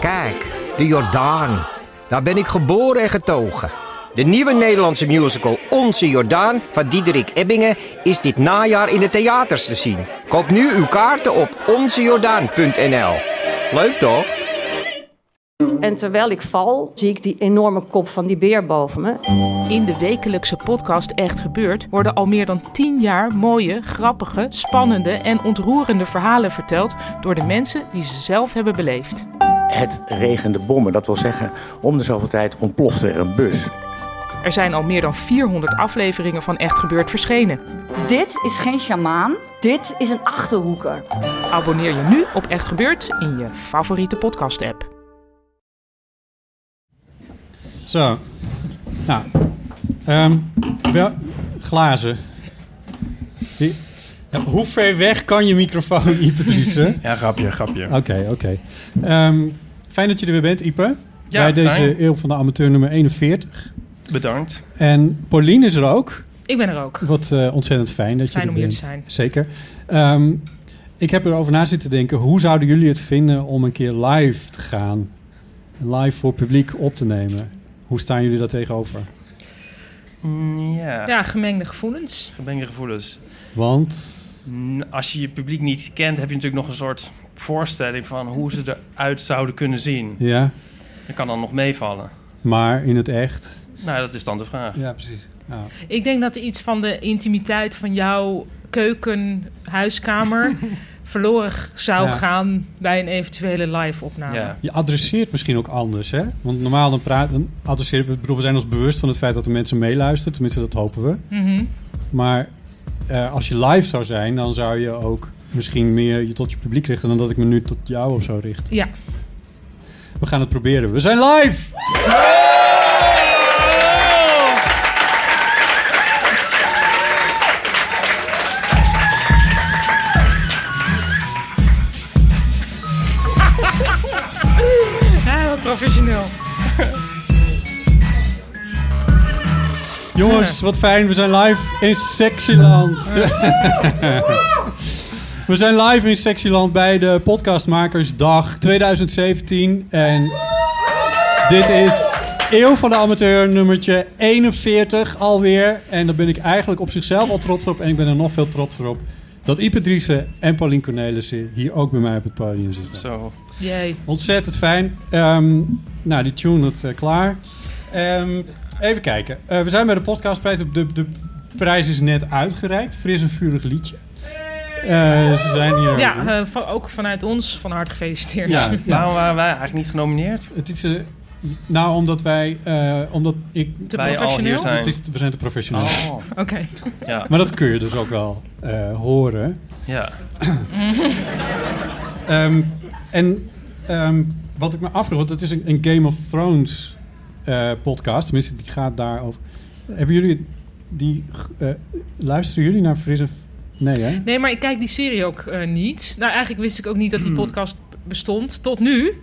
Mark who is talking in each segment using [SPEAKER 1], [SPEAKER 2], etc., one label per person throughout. [SPEAKER 1] Kijk, de Jordaan. Daar ben ik geboren en getogen. De nieuwe Nederlandse musical Onze Jordaan van Diederik Ebbingen is dit najaar in de theaters te zien. Koop nu uw kaarten op onzejordaan.nl. Leuk toch?
[SPEAKER 2] En terwijl ik val, zie ik die enorme kop van die beer boven me.
[SPEAKER 3] In de wekelijkse podcast Echt Gebeurd worden al meer dan 10 jaar mooie, grappige, spannende en ontroerende verhalen verteld door de mensen die ze zelf hebben beleefd.
[SPEAKER 4] Het regende bommen, dat wil zeggen, om de zoveel tijd ontplofte er een bus.
[SPEAKER 3] Er zijn al meer dan 400 afleveringen van Echt Gebeurd verschenen.
[SPEAKER 5] Dit is geen sjamaan, dit is een achterhoeker.
[SPEAKER 3] Abonneer je nu op Echt Gebeurd in je favoriete podcast-app.
[SPEAKER 6] Zo. Nou. ehm, wel, glazen. Die, ja, hoe ver weg kan je microfoon, Ipe Driessen?
[SPEAKER 7] Ja, grapje, grapje.
[SPEAKER 6] Oké, oké. Ehm, fijn dat je er weer bent, Ipe.
[SPEAKER 7] Ja,
[SPEAKER 6] Bij deze
[SPEAKER 7] fijn.
[SPEAKER 6] eeuw van de amateur nummer 41.
[SPEAKER 7] Bedankt.
[SPEAKER 6] En Pauline is er ook.
[SPEAKER 3] Ik ben er ook.
[SPEAKER 6] Wat eh, ontzettend fijn dat
[SPEAKER 3] Fijn
[SPEAKER 6] je er
[SPEAKER 3] om hier
[SPEAKER 6] bent.
[SPEAKER 3] te zijn.
[SPEAKER 6] Zeker. Ehm, ik heb erover na zitten denken. Hoe zouden jullie het vinden om een keer live te gaan? Live voor publiek op te nemen. Hoe staan jullie daar tegenover?
[SPEAKER 7] Mm, Ja,
[SPEAKER 3] Ja, gemengde gevoelens.
[SPEAKER 7] gemengde gevoelens.
[SPEAKER 6] Want
[SPEAKER 7] Mm, Als je je publiek niet kent, heb je natuurlijk nog een soort voorstelling van hoe ze eruit zouden kunnen zien.
[SPEAKER 6] ja,
[SPEAKER 7] Dat kan dan nog meevallen.
[SPEAKER 6] maar in het echt.
[SPEAKER 7] Nou, dat is dan de vraag.
[SPEAKER 6] Ja, precies. Ja.
[SPEAKER 3] Ik denk dat er iets van de intimiteit van jouw keuken, huiskamer verloren zou
[SPEAKER 6] Ja.
[SPEAKER 3] gaan bij een eventuele live opname.
[SPEAKER 7] Ja.
[SPEAKER 6] Je adresseert misschien ook anders, hè? Want normaal dan praat, dan adresseren we, ik bedoel, we zijn ons bewust van het feit dat de mensen meeluisteren, tenminste dat hopen we.
[SPEAKER 3] Mhm.
[SPEAKER 6] Maar eh, als je live zou zijn, dan zou je ook misschien meer je tot je publiek richten dan dat ik me nu tot jou of zo richt.
[SPEAKER 3] ja.
[SPEAKER 6] We gaan het proberen. We zijn live!
[SPEAKER 3] Ja, wat professioneel.
[SPEAKER 6] Jongens, wat fijn, we zijn live in Sexyland. we zijn live in Sexyland bij de Podcastmakersdag 2017. En dit is Eeuw van de Amateur, nummertje 41 alweer. En daar ben ik eigenlijk op zichzelf al trots op. En ik ben er nog veel trotser op dat Ipe Driessen en Paulien Cornelissen hier ook bij mij op het podium zitten.
[SPEAKER 7] Zo.
[SPEAKER 3] Jee.
[SPEAKER 6] Ontzettend fijn. Ehm, nou, die tune dat eh, klaar. Ehm, even kijken. Eh, we zijn bij de podcastprijs. De, de, de prijs is net uitgereikt. Fris en vurig liedje. Eh, ze zijn hier.
[SPEAKER 3] Ja, eh, van- ook vanuit ons van harte gefeliciteerd.
[SPEAKER 6] ja, ja.
[SPEAKER 7] Waarom waren wij eigenlijk niet genomineerd?
[SPEAKER 6] Het is. eh, nou, omdat wij. eh, omdat ik.
[SPEAKER 3] Te
[SPEAKER 7] wij al
[SPEAKER 3] professioneel?
[SPEAKER 7] hier
[SPEAKER 6] Het
[SPEAKER 7] zijn.
[SPEAKER 6] is, we zijn te professioneel.
[SPEAKER 7] Oh,
[SPEAKER 3] Oké.
[SPEAKER 7] ja.
[SPEAKER 6] Maar dat kun je dus ook wel eh, horen.
[SPEAKER 7] ja.
[SPEAKER 6] Ehm, en ehm, wat ik me afvroeg, want het is een, een Game of Thrones eh, podcast. Tenminste, die gaat daarover. Hebben jullie die. eh, luisteren jullie naar Fris en. F- Nee, hè?
[SPEAKER 3] Nee, maar ik kijk die serie ook eh, niet. Nou, eigenlijk wist ik ook niet dat die podcast bestond. Tot nu.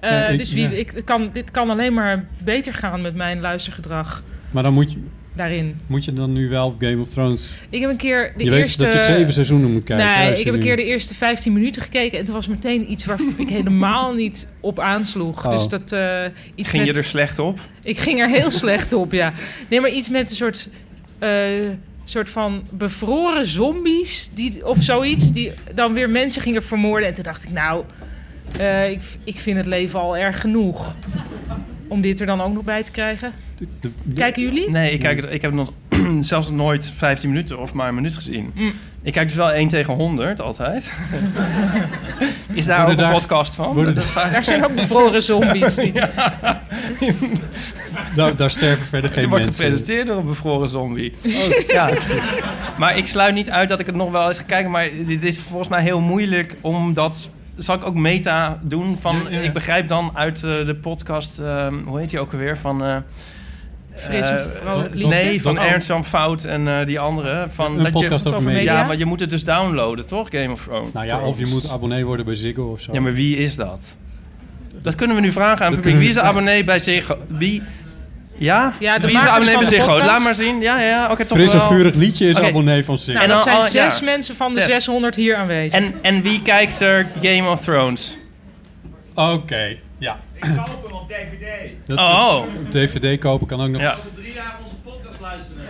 [SPEAKER 3] Eh,
[SPEAKER 6] Ja, Hmm. ik-
[SPEAKER 3] dus wie,
[SPEAKER 6] ja.
[SPEAKER 3] ik, het kan, dit kan alleen maar beter gaan met mijn luistergedrag
[SPEAKER 6] Maar dan moet je,
[SPEAKER 3] daarin.
[SPEAKER 6] moet je dan nu wel op Game of Thrones.
[SPEAKER 3] Ik heb een keer de
[SPEAKER 6] je
[SPEAKER 3] eerste...
[SPEAKER 6] weet dat je zeven seizoenen moet kijken.
[SPEAKER 3] nee, ik heb
[SPEAKER 6] luisteren
[SPEAKER 3] een keer de
[SPEAKER 6] jullie?
[SPEAKER 3] eerste 15 minuten gekeken en toen was meteen iets waar ik helemaal niet op aansloeg.
[SPEAKER 6] Oh.
[SPEAKER 3] Dus dat eh, iets
[SPEAKER 7] Ging je
[SPEAKER 3] met-
[SPEAKER 7] er slecht op?
[SPEAKER 3] Ik ging er heel slecht op, ja. Nee, maar iets met een soort, eh, soort van bevroren zombies die, of zoiets, die dan weer mensen gingen vermoorden. En toen dacht ik, nou, eh, ik, ik vind het leven al erg genoeg. Om dit er dan ook nog bij te krijgen.
[SPEAKER 6] De- de-
[SPEAKER 3] Kijken jullie?
[SPEAKER 7] Nee, ik, kijk, er- ik heb nog zelfs nooit 15 minuten of maar een minuut gezien.
[SPEAKER 3] Mm.
[SPEAKER 7] Ik kijk dus wel 1 tegen 100 altijd. is
[SPEAKER 6] Worden
[SPEAKER 7] daar ook een
[SPEAKER 6] daar-
[SPEAKER 7] podcast van?
[SPEAKER 6] worden
[SPEAKER 7] Dat- dat-
[SPEAKER 3] Daar zijn ook bevroren zombies. Die...
[SPEAKER 6] daar, daar sterven verder geen
[SPEAKER 7] Je wordt
[SPEAKER 6] mensen.
[SPEAKER 7] gepresenteerd door een bevroren zombie.
[SPEAKER 3] Oh.
[SPEAKER 7] Ja. Maar ik sluit niet uit dat ik het nog wel eens ga kijken. Maar dit is volgens mij heel moeilijk omdat... Zal ik ook meta doen van...
[SPEAKER 6] Ja, ja, ja.
[SPEAKER 7] Ik begrijp dan uit eh, de podcast... ehm, hoe heet die ook alweer? Van... eh,
[SPEAKER 3] Fris en
[SPEAKER 7] eh,
[SPEAKER 3] vrolijk
[SPEAKER 6] dat-
[SPEAKER 3] liedje.
[SPEAKER 7] nee, van
[SPEAKER 3] Oh.
[SPEAKER 7] Ernst Jan Fout en eh, die andere. Van,
[SPEAKER 6] Een podcast
[SPEAKER 7] je,
[SPEAKER 6] over
[SPEAKER 3] over
[SPEAKER 6] media.
[SPEAKER 3] media.
[SPEAKER 7] Ja, maar je moet het dus downloaden, toch? Game of Thrones.
[SPEAKER 6] Nou ja, of je moet abonnee worden bij Ziggo of zo.
[SPEAKER 7] Ja, maar wie is dat? Dat kunnen we nu vragen aan het
[SPEAKER 6] Dat
[SPEAKER 7] publiek. Wie is de
[SPEAKER 6] kunnen we-
[SPEAKER 7] abonnee bij Ziggo? Wie... Ja?
[SPEAKER 3] Ja, de
[SPEAKER 7] Wie is de
[SPEAKER 3] makers
[SPEAKER 7] abonnee
[SPEAKER 3] van
[SPEAKER 7] bij
[SPEAKER 3] de
[SPEAKER 7] Ziggo?
[SPEAKER 3] podcast.
[SPEAKER 7] Laat maar zien. Ja, ja, ja. Oké, toch
[SPEAKER 6] Fris en
[SPEAKER 7] wel.
[SPEAKER 6] vurig liedje is
[SPEAKER 7] Oké.
[SPEAKER 6] abonnee van Ziggo.
[SPEAKER 3] Nou,
[SPEAKER 7] En
[SPEAKER 3] dat
[SPEAKER 7] dan
[SPEAKER 3] zijn
[SPEAKER 7] al- ja.
[SPEAKER 3] zes mensen van de
[SPEAKER 7] Zes.
[SPEAKER 3] 600 hier aanwezig.
[SPEAKER 7] En, en wie kijkt er Game of Thrones?
[SPEAKER 6] Oké, ja.
[SPEAKER 8] Ik koop hem op DVD.
[SPEAKER 6] Dat
[SPEAKER 7] Oh.
[SPEAKER 6] eh, DVD kopen kan ook nog.
[SPEAKER 7] Ja.
[SPEAKER 8] Over drie jaar onze podcast luisteren.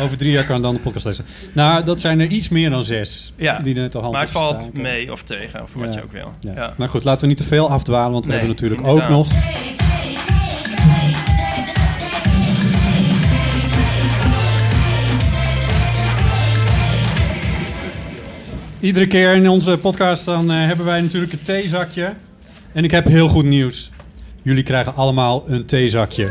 [SPEAKER 6] Over drie jaar kan dan de podcast lezen. Nou, dat zijn er iets meer dan zes.
[SPEAKER 7] Ja.
[SPEAKER 6] Die net al hand
[SPEAKER 7] maar het
[SPEAKER 6] op staan.
[SPEAKER 7] valt mee of tegen, of wat je ook wil.
[SPEAKER 6] Ja.
[SPEAKER 7] Ja.
[SPEAKER 6] Maar goed, laten we niet te veel afdwalen, want we
[SPEAKER 7] Nee,
[SPEAKER 6] hebben natuurlijk ook
[SPEAKER 7] inderdaad.
[SPEAKER 6] nog. Iedere keer in onze podcast dan eh, hebben wij natuurlijk een theezakje. En ik heb heel goed nieuws. Jullie krijgen allemaal een theezakje.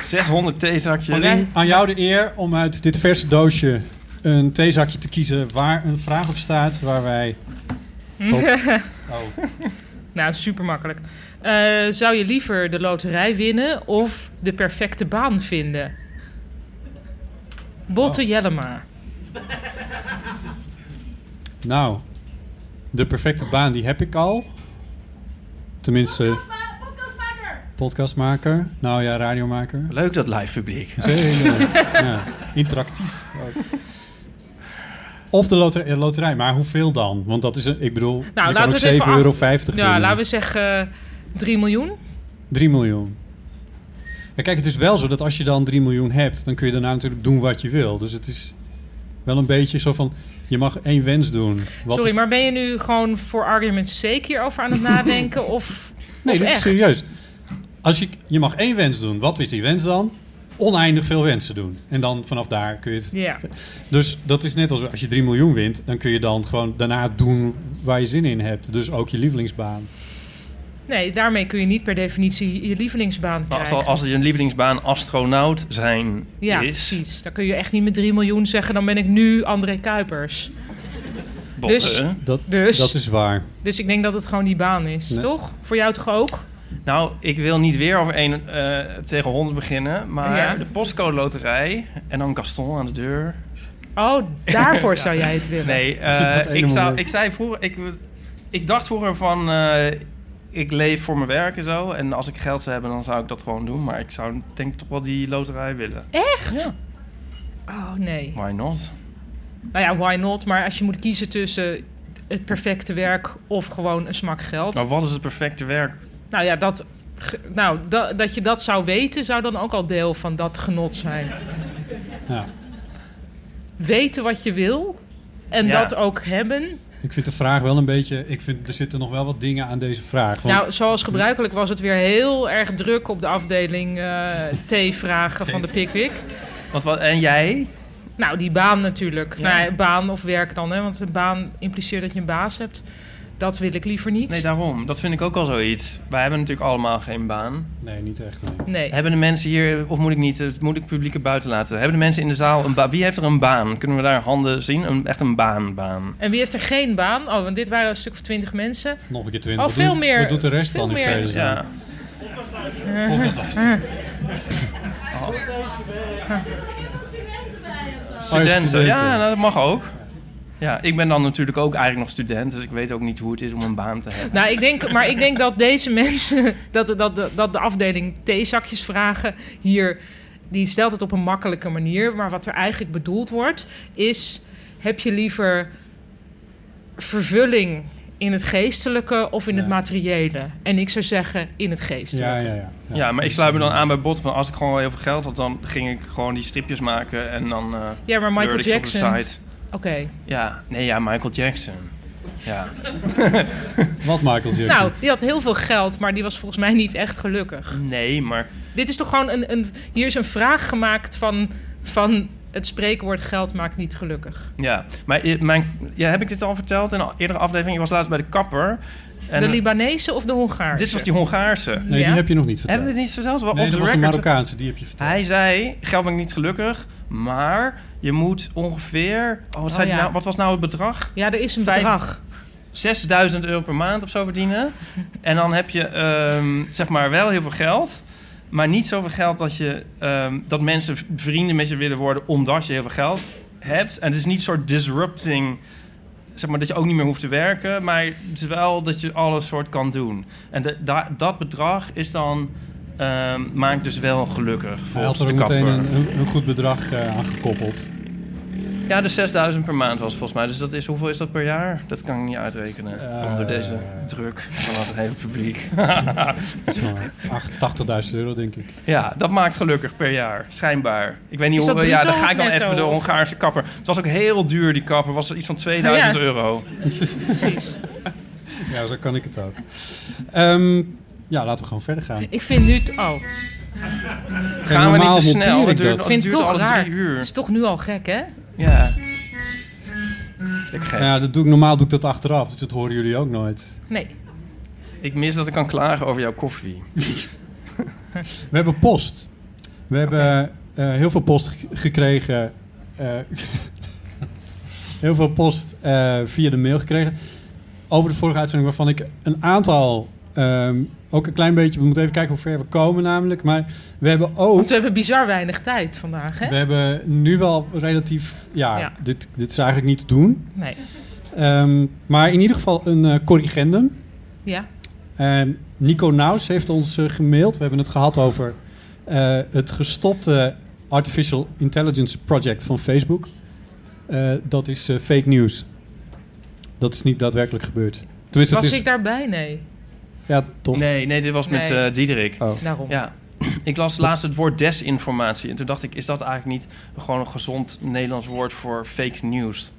[SPEAKER 7] 600 theezakjes.
[SPEAKER 6] Alleen aan jou de eer om uit dit verse doosje een theezakje te kiezen waar een vraag op staat waar wij. Oh.
[SPEAKER 3] Nou, super makkelijk. Eh, zou je liever de loterij winnen of de perfecte baan vinden? Botte Jellema.
[SPEAKER 6] Nou, de perfecte baan die heb ik al. Tenminste,
[SPEAKER 9] Podcastmaker!
[SPEAKER 6] podcastmaker. Nou ja, radiomaker.
[SPEAKER 7] Leuk dat live publiek.
[SPEAKER 6] Zeker. ja, interactief ook. Of de loter- eh, loterij, maar hoeveel dan? Want dat is, een- ik bedoel, je kan
[SPEAKER 3] Nou, laten we
[SPEAKER 6] ook
[SPEAKER 3] het even
[SPEAKER 6] 7,50 euro
[SPEAKER 3] Ja, laten we zeggen eh, 3 miljoen.
[SPEAKER 6] 3 miljoen. Ja, kijk, het is wel zo dat als je dan 3 miljoen hebt, dan kun je daarna natuurlijk doen wat je wil. Dus het is wel een beetje zo van, je mag één wens doen. Wat
[SPEAKER 3] Sorry,
[SPEAKER 6] is-
[SPEAKER 3] maar ben je nu gewoon voor argument's sake hierover aan het nadenken? Of,
[SPEAKER 6] Nee,
[SPEAKER 3] of
[SPEAKER 6] dit is
[SPEAKER 3] echt?
[SPEAKER 6] serieus. Als je, je mag één wens doen. Wat is die wens dan? Oneindig veel wensen doen. En dan vanaf daar kun je het...
[SPEAKER 3] Ja.
[SPEAKER 6] Dus dat is net als als je 3 miljoen wint, dan kun je dan gewoon daarna doen waar je zin in hebt. Dus ook je lievelingsbaan.
[SPEAKER 3] Nee, daarmee kun je niet per definitie je lievelingsbaan
[SPEAKER 7] Maar als,
[SPEAKER 3] krijgen.
[SPEAKER 7] al- als je lievelingsbaan astronaut zijn
[SPEAKER 3] ja,
[SPEAKER 7] is,
[SPEAKER 3] precies. Dan kun je echt niet met 3 miljoen zeggen, dan ben ik nu André Kuipers.
[SPEAKER 7] botten,
[SPEAKER 3] Dus-
[SPEAKER 6] Dat,
[SPEAKER 3] Dus?
[SPEAKER 6] dat is waar.
[SPEAKER 3] Dus ik denk dat het gewoon die baan is,
[SPEAKER 6] Nee.
[SPEAKER 3] toch? Voor jou toch ook?
[SPEAKER 7] Nou, ik wil niet weer over één eh, tegen honderd beginnen, maar
[SPEAKER 3] Ja.
[SPEAKER 7] de postcode loterij en dan Gaston aan de deur.
[SPEAKER 3] Oh, daarvoor zou jij het willen.
[SPEAKER 7] Nee, eh,
[SPEAKER 6] Dat ene
[SPEAKER 7] ik, zou,
[SPEAKER 6] moment.
[SPEAKER 7] ik zei vroeger, ik, ik dacht vroeger van, eh, ik leef voor mijn werk en zo. En als ik geld zou hebben, dan zou ik dat gewoon doen. Maar ik zou denk ik toch wel die loterij willen.
[SPEAKER 3] Oh, nee.
[SPEAKER 7] Why not?
[SPEAKER 3] Nou ja, why not? Maar als je moet kiezen tussen het perfecte werk of gewoon een smak geld.
[SPEAKER 7] Maar wat is het perfecte werk?
[SPEAKER 3] Nou ja, dat, ge- nou, da- dat je dat zou weten, zou dan ook al deel van dat genot zijn.
[SPEAKER 6] Ja.
[SPEAKER 3] Weten wat je wil en
[SPEAKER 7] Ja.
[SPEAKER 3] dat ook hebben.
[SPEAKER 6] Ik vind de vraag wel een beetje... Ik vind, er zitten nog wel wat dingen aan deze vraag. Want
[SPEAKER 3] Nou, zoals gebruikelijk was het weer heel erg druk op de afdeling eh T-vragen van de Pickwick.
[SPEAKER 7] Want wat, en jij?
[SPEAKER 3] Nou, die baan natuurlijk. Nou ja, baan of werk dan, hè? want een baan impliceert dat je een baas hebt. Dat wil ik liever niet.
[SPEAKER 7] Nee, daarom. Dat vind ik ook al zoiets. Wij hebben natuurlijk allemaal geen baan.
[SPEAKER 6] Nee, niet echt. nee.
[SPEAKER 3] nee.
[SPEAKER 7] Hebben de mensen hier, of moet ik niet, het moet ik het publiek er buiten laten? Hebben de mensen in de zaal een baan? Wie heeft er een baan? Kunnen we daar handen zien? Een, echt een baan, baan.
[SPEAKER 3] En wie heeft er geen baan? Oh, want dit waren een stuk of twintig mensen.
[SPEAKER 6] Nog een keer 20.
[SPEAKER 3] Oh,
[SPEAKER 6] Wat
[SPEAKER 3] veel
[SPEAKER 6] doet-
[SPEAKER 3] meer-
[SPEAKER 6] Wat doet de rest
[SPEAKER 3] veel
[SPEAKER 6] dan in
[SPEAKER 3] meer.
[SPEAKER 6] vredesnaam?
[SPEAKER 7] Ja.
[SPEAKER 6] Podcastlijst. Oh,
[SPEAKER 7] Studenten.
[SPEAKER 6] studenten.
[SPEAKER 7] Ja, nou, dat mag ook. Ja, ik ben dan natuurlijk ook eigenlijk nog student, dus ik weet ook niet hoe het is om een baan te hebben.
[SPEAKER 3] Nou, ik denk, maar ik denk dat deze mensen, dat, dat, dat de afdeling theezakjes vragen hier, die stelt het op een makkelijke manier. Maar wat er eigenlijk bedoeld wordt, is: heb je liever vervulling in het geestelijke of in het materiële? En ik zou zeggen in het geestelijke.
[SPEAKER 6] Ja, ja, ja.
[SPEAKER 7] Ja, maar ik sluit me dan aan bij Bot van als ik gewoon wel heel veel geld had, dan ging ik gewoon die stripjes maken en dan eh
[SPEAKER 3] Ja, maar Michael
[SPEAKER 7] blurred ik ze op
[SPEAKER 3] Jackson.
[SPEAKER 7] de site.
[SPEAKER 3] Oké.
[SPEAKER 7] Ja, nee, ja, Michael Jackson. Ja.
[SPEAKER 6] Wat Michael Jackson?
[SPEAKER 3] Nou, die had heel veel geld, maar die was volgens mij niet echt gelukkig.
[SPEAKER 7] Nee, maar
[SPEAKER 3] Dit is toch gewoon een. een hier is een vraag gemaakt van. van het spreekwoord geld maakt niet gelukkig.
[SPEAKER 7] Ja, maar i- mijn, ja, heb ik dit al verteld in een eerdere aflevering? Ik was laatst bij de kapper. En
[SPEAKER 3] de
[SPEAKER 7] eh,
[SPEAKER 3] Libanese of de Hongaarse?
[SPEAKER 7] dit was die Hongaarse.
[SPEAKER 6] nee,
[SPEAKER 3] ja.
[SPEAKER 6] die heb je nog niet verteld.
[SPEAKER 7] Hebben we het niet verteld? Wel
[SPEAKER 6] Nee,
[SPEAKER 7] off
[SPEAKER 6] dat
[SPEAKER 7] the
[SPEAKER 6] was de
[SPEAKER 7] record.
[SPEAKER 6] Marokkaanse, die heb je verteld.
[SPEAKER 7] Hij zei, geld ben ik niet gelukkig, maar je moet ongeveer... Oh, wat, zei
[SPEAKER 3] ja.
[SPEAKER 7] hij nou, wat was nou het bedrag?
[SPEAKER 3] Ja, er is een
[SPEAKER 7] Vijf-
[SPEAKER 3] bedrag.
[SPEAKER 7] 6000 euro per maand of zo verdienen. En dan heb je ehm, zeg maar wel heel veel geld... Maar niet zoveel geld dat, je, ehm, dat mensen v- vrienden met je willen worden omdat je heel veel geld hebt. En het is niet een soort disrupting, zeg maar, dat je ook niet meer hoeft te werken. Maar het is wel dat je alles soort kan doen. En de- da- dat bedrag is dan, ehm, maakt dus wel gelukkig
[SPEAKER 6] Hij had
[SPEAKER 7] volgens
[SPEAKER 6] er
[SPEAKER 7] de
[SPEAKER 6] ook meteen
[SPEAKER 7] kapper.
[SPEAKER 6] een, een- een goed bedrag eh, aan gekoppeld.
[SPEAKER 7] Ja, de 6000 per maand was het volgens mij. Dus dat is, hoeveel is dat per jaar? Dat kan ik niet uitrekenen.
[SPEAKER 3] Eh,
[SPEAKER 7] Onder deze druk van het hele publiek.
[SPEAKER 6] Zo'n 80.000 euro, denk ik.
[SPEAKER 7] ja, dat maakt gelukkig per jaar. Schijnbaar. Ik weet niet
[SPEAKER 3] Is dat
[SPEAKER 7] hoeveel. Ja,
[SPEAKER 3] bruto
[SPEAKER 7] dan ga
[SPEAKER 3] of
[SPEAKER 7] ik dan
[SPEAKER 3] netto,
[SPEAKER 7] even de
[SPEAKER 3] of?
[SPEAKER 7] Hongaarse kapper. Het was ook heel duur, die kapper. Was iets van 2000
[SPEAKER 3] Ja.
[SPEAKER 7] euro.
[SPEAKER 3] Precies.
[SPEAKER 6] Ja, zo kan ik het ook. Ehm, ja, laten we gewoon verder gaan.
[SPEAKER 3] Ik vind nu... t- Oh, ik
[SPEAKER 7] Gaan we niet
[SPEAKER 6] normaal
[SPEAKER 7] te
[SPEAKER 6] monteer
[SPEAKER 7] snel.
[SPEAKER 6] ik
[SPEAKER 7] Het duurt,
[SPEAKER 6] dat.
[SPEAKER 7] het
[SPEAKER 3] vind het
[SPEAKER 7] duurt
[SPEAKER 3] toch
[SPEAKER 7] alle
[SPEAKER 3] raar.
[SPEAKER 7] drie
[SPEAKER 3] Het is
[SPEAKER 7] uur.
[SPEAKER 3] toch nu al gek, hè?
[SPEAKER 7] Ja. Ik gek.
[SPEAKER 6] Nou ja, dat doe ik, normaal doe ik dat achteraf, dus dat horen jullie ook nooit.
[SPEAKER 3] Nee.
[SPEAKER 7] Ik mis dat ik kan klagen over jouw koffie.
[SPEAKER 6] We hebben post. We hebben eh, heel veel post g- gekregen. eh, heel veel post eh, via de mail gekregen. Over de vorige uitzending, waarvan ik een aantal. ehm, ook een klein beetje. We moeten even kijken hoe ver we komen, namelijk. Maar we hebben ook.
[SPEAKER 3] Want we hebben bizar weinig tijd vandaag, hè?
[SPEAKER 6] We hebben nu wel relatief. Ja,
[SPEAKER 3] Ja.
[SPEAKER 6] Dit, dit is eigenlijk niet te doen.
[SPEAKER 3] Nee.
[SPEAKER 6] Ehm, maar in ieder geval een eh, corrigendum.
[SPEAKER 3] Ja.
[SPEAKER 6] Ehm, Nico Naus heeft ons eh, gemaild. We hebben het gehad over eh, het gestopte Artificial Intelligence Project van Facebook. Eh, dat is eh, fake news. Dat is niet daadwerkelijk gebeurd. Tenminste,
[SPEAKER 3] Was
[SPEAKER 6] het is...
[SPEAKER 3] ik daarbij? Nee.
[SPEAKER 6] Ja, toch?
[SPEAKER 7] Nee, nee, dit was met
[SPEAKER 3] Nee.
[SPEAKER 7] eh, Diederik.
[SPEAKER 6] Oh.
[SPEAKER 3] Daarom.
[SPEAKER 7] Ja. Ik las laatst het woord desinformatie. En toen dacht ik, is dat eigenlijk niet gewoon een gezond Nederlands woord voor fake news?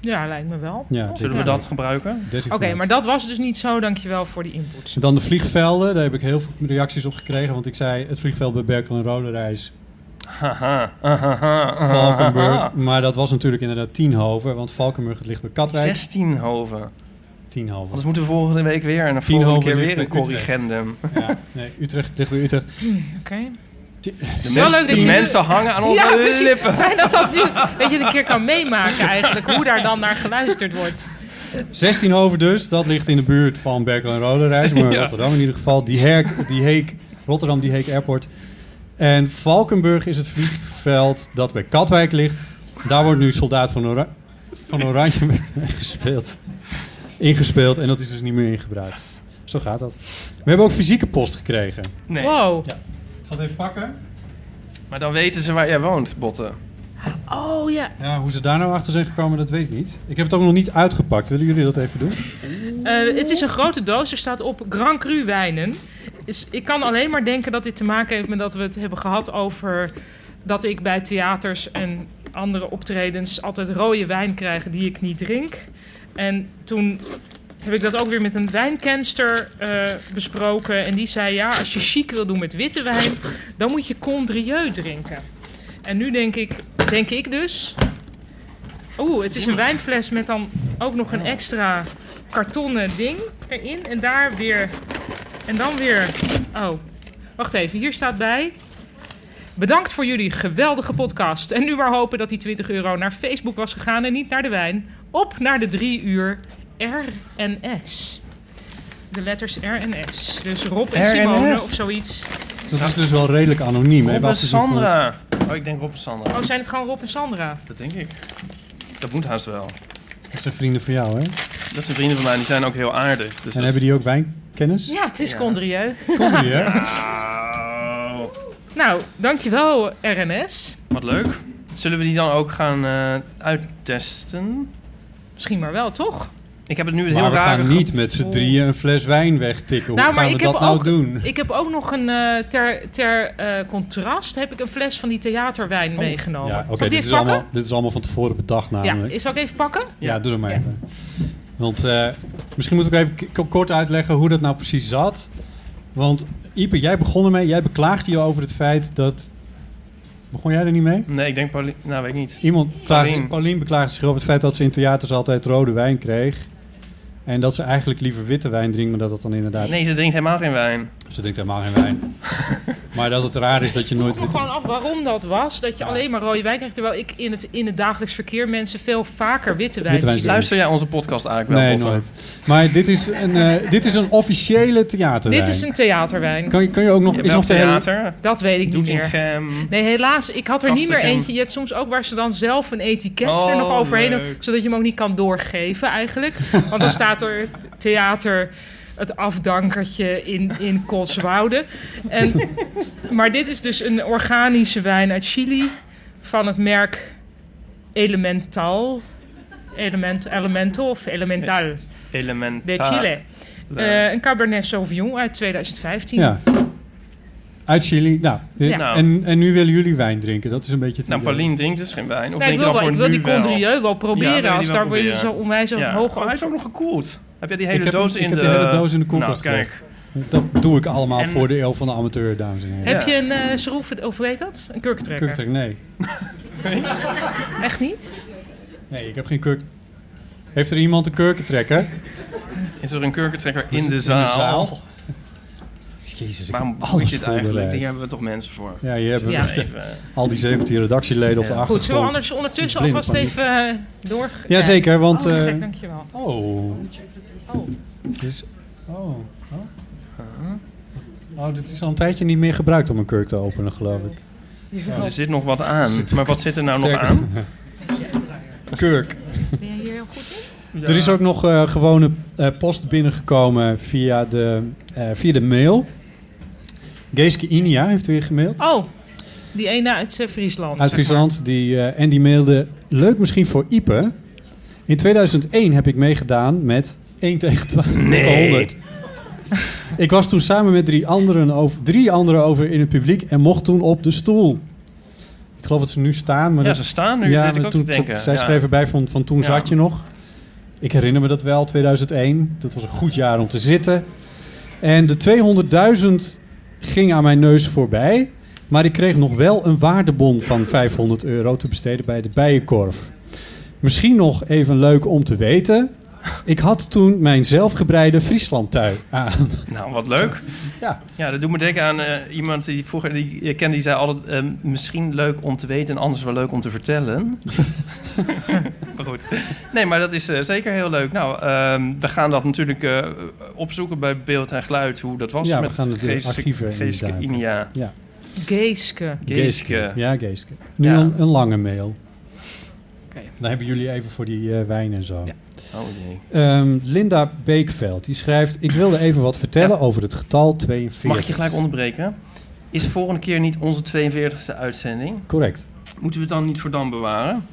[SPEAKER 3] Ja, lijkt me wel.
[SPEAKER 6] Ja,
[SPEAKER 3] Toch?
[SPEAKER 7] Zullen we
[SPEAKER 3] Ja.
[SPEAKER 7] dat gebruiken?
[SPEAKER 3] Oké, maar dat was dus niet zo. Dankjewel voor die input.
[SPEAKER 6] Dan de vliegvelden. Daar heb ik heel veel reacties op gekregen. Want ik zei, het vliegveld bij Berkel en Roderijs
[SPEAKER 7] Haha, ahaha, ahaha.
[SPEAKER 6] Valkenburg. Maar dat was natuurlijk inderdaad Tienhoven. Want Valkenburg het ligt bij Katwijk.
[SPEAKER 7] 16 hoven.
[SPEAKER 6] Tienhoven.
[SPEAKER 7] Anders moeten we volgende week weer. En de
[SPEAKER 6] Tien
[SPEAKER 7] volgende
[SPEAKER 6] hoven
[SPEAKER 7] keer
[SPEAKER 6] ligt
[SPEAKER 7] weer een
[SPEAKER 6] bij Utrecht.
[SPEAKER 7] corrigendum.
[SPEAKER 6] Ja, nee, Utrecht het ligt bij Utrecht.
[SPEAKER 3] Oké.
[SPEAKER 7] De,
[SPEAKER 3] wel
[SPEAKER 7] mensen-
[SPEAKER 3] leuk dat
[SPEAKER 7] de
[SPEAKER 3] je nu-
[SPEAKER 7] mensen hangen aan onze
[SPEAKER 3] Ja, precies.
[SPEAKER 7] lippen.
[SPEAKER 3] Fijn dat dat nu, weet je, een keer kan meemaken eigenlijk. Hoe daar dan naar geluisterd wordt.
[SPEAKER 6] 16 over dus, dat ligt in de buurt van Berkel en Roderijs, maar Rotterdam in ieder geval. Die, Herk, die Heek, Rotterdam, die Heek Airport. En Valkenburg is het vliegveld dat bij Katwijk ligt. Daar wordt nu Soldaat van, Ora van Oranje gespeeld. Ingespeeld en dat is dus niet meer in gebruik. Zo gaat dat. We hebben ook fysieke post gekregen.
[SPEAKER 7] Nee.
[SPEAKER 3] Wow.
[SPEAKER 6] Ik zal het even pakken.
[SPEAKER 7] Maar dan weten ze waar jij woont, Botten.
[SPEAKER 3] Oh ja.
[SPEAKER 6] Ja, hoe ze daar nou achter zijn gekomen, dat weet ik niet. Ik heb het ook nog niet uitgepakt. Willen jullie dat even doen?
[SPEAKER 3] Eh, het is een grote doos. Er staat op Grand Cru wijnen. Dus ik kan alleen maar denken dat dit te maken heeft met dat we het hebben gehad over dat ik bij theaters en andere optredens altijd rode wijn krijg die ik niet drink. En toen heb ik dat ook weer met een wijnkenster eh, besproken. En die zei: Ja, als je chic wil doen met witte wijn, dan moet je Condrieu drinken. En nu denk ik, denk ik dus. Oeh, het is een wijnfles met dan ook nog een extra kartonnen ding erin. En daar weer. En dan weer. Oh, wacht even. Hier staat bij. Bedankt voor jullie geweldige podcast. En nu maar hopen dat die 20 euro naar Facebook was gegaan en niet naar de wijn. Op naar de drie uur R en S. De letters R en S. Dus Rob en
[SPEAKER 7] R en
[SPEAKER 3] Simone
[SPEAKER 7] S.
[SPEAKER 3] of zoiets.
[SPEAKER 6] Dat is dus wel redelijk anoniem. hè?
[SPEAKER 7] Rob en
[SPEAKER 6] Wat ze doen voor-
[SPEAKER 7] Sandra. Oh, ik denk Rob en Sandra.
[SPEAKER 3] Oh, zijn het gewoon Rob en Sandra?
[SPEAKER 7] Dat denk ik. Dat moet haast wel.
[SPEAKER 6] Dat zijn vrienden van jou, hè?
[SPEAKER 7] Dat zijn vrienden van mij, die zijn ook heel aardig. Dus dat-
[SPEAKER 6] En hebben die ook wijnkennis?
[SPEAKER 3] Ja, het is Condrieu.
[SPEAKER 6] Komt die, hè?
[SPEAKER 7] Auw.
[SPEAKER 3] Nou, dankjewel RNS.
[SPEAKER 7] Wat leuk. Zullen we die dan ook gaan eh, uittesten?
[SPEAKER 3] Misschien maar wel, toch?
[SPEAKER 7] Ik heb het nu het
[SPEAKER 6] Maar
[SPEAKER 7] heel
[SPEAKER 6] we
[SPEAKER 7] raar.
[SPEAKER 6] gaan niet met z'n drieën een fles wijn wegtikken. Hoe gaan we dat nou
[SPEAKER 3] ook,
[SPEAKER 6] doen?
[SPEAKER 3] ik heb ook nog een... eh, ter ter eh, contrast heb ik een fles van die theaterwijn meegenomen.
[SPEAKER 6] Oh, Ja, oké,
[SPEAKER 3] Zal ik die
[SPEAKER 6] dit,
[SPEAKER 3] even
[SPEAKER 6] is
[SPEAKER 3] pakken?
[SPEAKER 6] allemaal- dit is allemaal van tevoren bedacht
[SPEAKER 3] Ja,
[SPEAKER 6] namelijk. Ja,
[SPEAKER 3] is- zal ik even pakken?
[SPEAKER 6] doe dat maar
[SPEAKER 3] Ja.
[SPEAKER 6] even. Want eh, misschien moet ik even k- k- kort uitleggen hoe dat nou precies zat. Want Ipe, jij begon ermee. Jij beklaagde je over het feit dat... Begon jij er niet mee?
[SPEAKER 7] Nee, ik denk Pauli- Nou, weet ik niet.
[SPEAKER 6] Iemand
[SPEAKER 7] Paulien.
[SPEAKER 6] klaagde, Paulien beklaagde zich over het feit dat ze in theaters altijd rode wijn kreeg. En dat ze eigenlijk liever witte wijn drinkt, maar dat dat dan inderdaad
[SPEAKER 7] Nee, ze drinkt helemaal geen wijn.
[SPEAKER 6] Ze drinkt helemaal geen wijn. maar dat het raar is dat je nooit
[SPEAKER 3] Ik vroeg me
[SPEAKER 6] witte...
[SPEAKER 3] gewoon af waarom dat was. Dat je alleen maar rode wijn krijgt. Terwijl ik in het, in het dagelijks verkeer mensen veel vaker witte wijn
[SPEAKER 6] Witte wijn
[SPEAKER 3] zie.
[SPEAKER 6] drinken.
[SPEAKER 7] Luister jij onze podcast eigenlijk wel?
[SPEAKER 6] Nee,
[SPEAKER 7] Botte?
[SPEAKER 6] nooit. Maar dit is een, eh, dit is een officiële theaterwijn.
[SPEAKER 3] Dit is een theaterwijn.
[SPEAKER 6] Kan je, kan je ook nog...
[SPEAKER 7] Je
[SPEAKER 6] is
[SPEAKER 7] hebt
[SPEAKER 6] nog de hele-
[SPEAKER 7] theater,
[SPEAKER 3] Dat weet ik niet meer.
[SPEAKER 7] Doetinchem.
[SPEAKER 3] Nee, helaas. Ik had er niet meer
[SPEAKER 7] Kastenkern.
[SPEAKER 3] eentje. Je hebt soms ook waar ze dan zelf een etiket er
[SPEAKER 7] Oh,
[SPEAKER 3] nog overheen doen,
[SPEAKER 7] leuk.
[SPEAKER 3] zodat je hem ook niet kan doorgeven eigenlijk. Want dan staat er het theater, het afdankertje in, in Kotswoude. En, maar dit is dus een organische wijn uit Chili van het merk Elemental. Element, elemental of Elemental
[SPEAKER 7] Element.
[SPEAKER 3] de Chile. Eh, een Cabernet Sauvignon uit 2015.
[SPEAKER 6] Ja. Uit Chili. Nou, dit-
[SPEAKER 3] Ja.
[SPEAKER 7] Nou.
[SPEAKER 6] En, en nu willen jullie wijn drinken. Dat is een beetje het
[SPEAKER 7] Nou,
[SPEAKER 6] idee.
[SPEAKER 7] Paulien drinkt dus geen wijn.
[SPEAKER 3] Nee,
[SPEAKER 7] Of
[SPEAKER 3] ik
[SPEAKER 7] denk je
[SPEAKER 3] wil,
[SPEAKER 7] dan
[SPEAKER 3] wel,
[SPEAKER 7] voor
[SPEAKER 3] ik wil
[SPEAKER 7] nu
[SPEAKER 3] die
[SPEAKER 7] wel?
[SPEAKER 3] Condrieu wel
[SPEAKER 7] Ja, wil je
[SPEAKER 3] proberen.
[SPEAKER 7] die
[SPEAKER 3] als
[SPEAKER 7] wel
[SPEAKER 3] daar word je zo
[SPEAKER 7] proberen?
[SPEAKER 3] onwijs
[SPEAKER 7] Ja.
[SPEAKER 3] hoog
[SPEAKER 7] Oh, hij
[SPEAKER 3] op.
[SPEAKER 7] is ook nog gekoeld. Heb jij die hele
[SPEAKER 6] Ik heb hem-
[SPEAKER 7] doos
[SPEAKER 6] ik
[SPEAKER 7] in
[SPEAKER 6] heb
[SPEAKER 7] de...
[SPEAKER 6] de hele doos in de koelkast
[SPEAKER 7] Nou, kijk.
[SPEAKER 6] gelegd. Dat doe ik allemaal
[SPEAKER 7] En-
[SPEAKER 6] voor de eeuw van de amateur, dames en heren.
[SPEAKER 3] Heb je een eh schroef, of hoe heet dat? Een kurkentrekker?
[SPEAKER 6] Kurktrek, nee.
[SPEAKER 3] Echt niet?
[SPEAKER 6] Nee, ik heb geen kurk... Heeft er iemand een kurkentrekker?
[SPEAKER 7] Is er een kurkentrekker
[SPEAKER 6] Is
[SPEAKER 7] in
[SPEAKER 6] het
[SPEAKER 7] de zaal?
[SPEAKER 6] Jezus, ik
[SPEAKER 7] Waarom
[SPEAKER 6] heb
[SPEAKER 7] moet
[SPEAKER 6] alles
[SPEAKER 7] je het eigenlijk?
[SPEAKER 6] voorbereid.
[SPEAKER 7] Hier hebben we toch mensen voor.
[SPEAKER 6] Ja, hier hebben we
[SPEAKER 3] Ja.
[SPEAKER 6] echt
[SPEAKER 7] Even.
[SPEAKER 6] al die 17 redactieleden op de
[SPEAKER 7] Ja.
[SPEAKER 6] achtergrond.
[SPEAKER 3] Goed, zullen we anders ondertussen
[SPEAKER 6] Blinde
[SPEAKER 3] alvast
[SPEAKER 6] paniek.
[SPEAKER 3] even eh, door...
[SPEAKER 6] Jazeker, want...
[SPEAKER 3] Oh, te
[SPEAKER 6] eh,
[SPEAKER 3] gek, dankjewel.
[SPEAKER 6] Oh. Dus, oh. Oh. Oh, dit is al een tijdje niet meer gebruikt om een kurk te openen, geloof ik.
[SPEAKER 7] Dus Er
[SPEAKER 6] Dus-
[SPEAKER 7] zit nog wat aan. Maar wat zit er nou nog
[SPEAKER 6] Sterker.
[SPEAKER 7] aan?
[SPEAKER 6] Kurk.
[SPEAKER 3] Ben jij hier heel goed in?
[SPEAKER 6] Er is ook nog eh, gewone eh, post binnengekomen via de, eh, via de mail. Geeske Inia heeft weer gemaild.
[SPEAKER 3] Oh, die ene uit eh, Friesland.
[SPEAKER 6] Uit
[SPEAKER 3] zeg maar.
[SPEAKER 6] Friesland. Die, eh, en die mailde... Leuk misschien voor Ipe. In 2001 heb ik meegedaan met 1 tegen 12 tegen 100. Ik was toen samen met drie anderen, over, drie anderen over in het publiek... en mocht toen op de stoel. Ik geloof dat ze nu staan. Maar
[SPEAKER 7] Ja,
[SPEAKER 6] dat-
[SPEAKER 7] ze staan nu. zit ik ook
[SPEAKER 6] toen,
[SPEAKER 7] te denken.
[SPEAKER 6] tot- zij
[SPEAKER 7] Ja.
[SPEAKER 6] schreef erbij van, van toen
[SPEAKER 7] Ja.
[SPEAKER 6] zat je nog. Ik herinner me dat wel, 2001. Dat was een goed jaar om te zitten. En de 200.000 ging aan mijn neus voorbij. Maar ik kreeg nog wel een waardebon van 500 euro te besteden bij de Bijenkorf. Misschien nog even leuk om te weten. Ik had toen mijn zelfgebreide Frieslandtui aan.
[SPEAKER 7] Nou, wat leuk.
[SPEAKER 6] Ja.
[SPEAKER 7] Ja, dat doet me denken aan eh, iemand die vroeger... Die je kende, die zei altijd... eh, misschien leuk om te weten en anders wel leuk om te vertellen. maar goed. Nee, maar dat is eh, zeker heel leuk. Nou, ehm, we gaan dat natuurlijk eh, opzoeken bij Beeld en Geluid. Hoe dat was
[SPEAKER 6] Ja, we
[SPEAKER 7] met
[SPEAKER 6] gaan het in
[SPEAKER 7] Geeske-
[SPEAKER 6] archieven
[SPEAKER 7] Geeske
[SPEAKER 6] induiken.
[SPEAKER 7] Inia.
[SPEAKER 3] Geeske.
[SPEAKER 7] Geeske.
[SPEAKER 6] Ja, Geeske. Nu
[SPEAKER 7] Ja.
[SPEAKER 6] Een, een lange mail.
[SPEAKER 7] Oké.
[SPEAKER 6] Dan hebben jullie even voor die eh, wijn en zo.
[SPEAKER 7] Oh jee.
[SPEAKER 6] Ehm, Linda Beekveld, die schrijft... Ik wilde even wat vertellen over het getal 42.
[SPEAKER 7] Mag ik je gelijk onderbreken? Is volgende keer niet onze 42e uitzending?
[SPEAKER 6] Correct.
[SPEAKER 7] Moeten we het dan niet voor dan bewaren?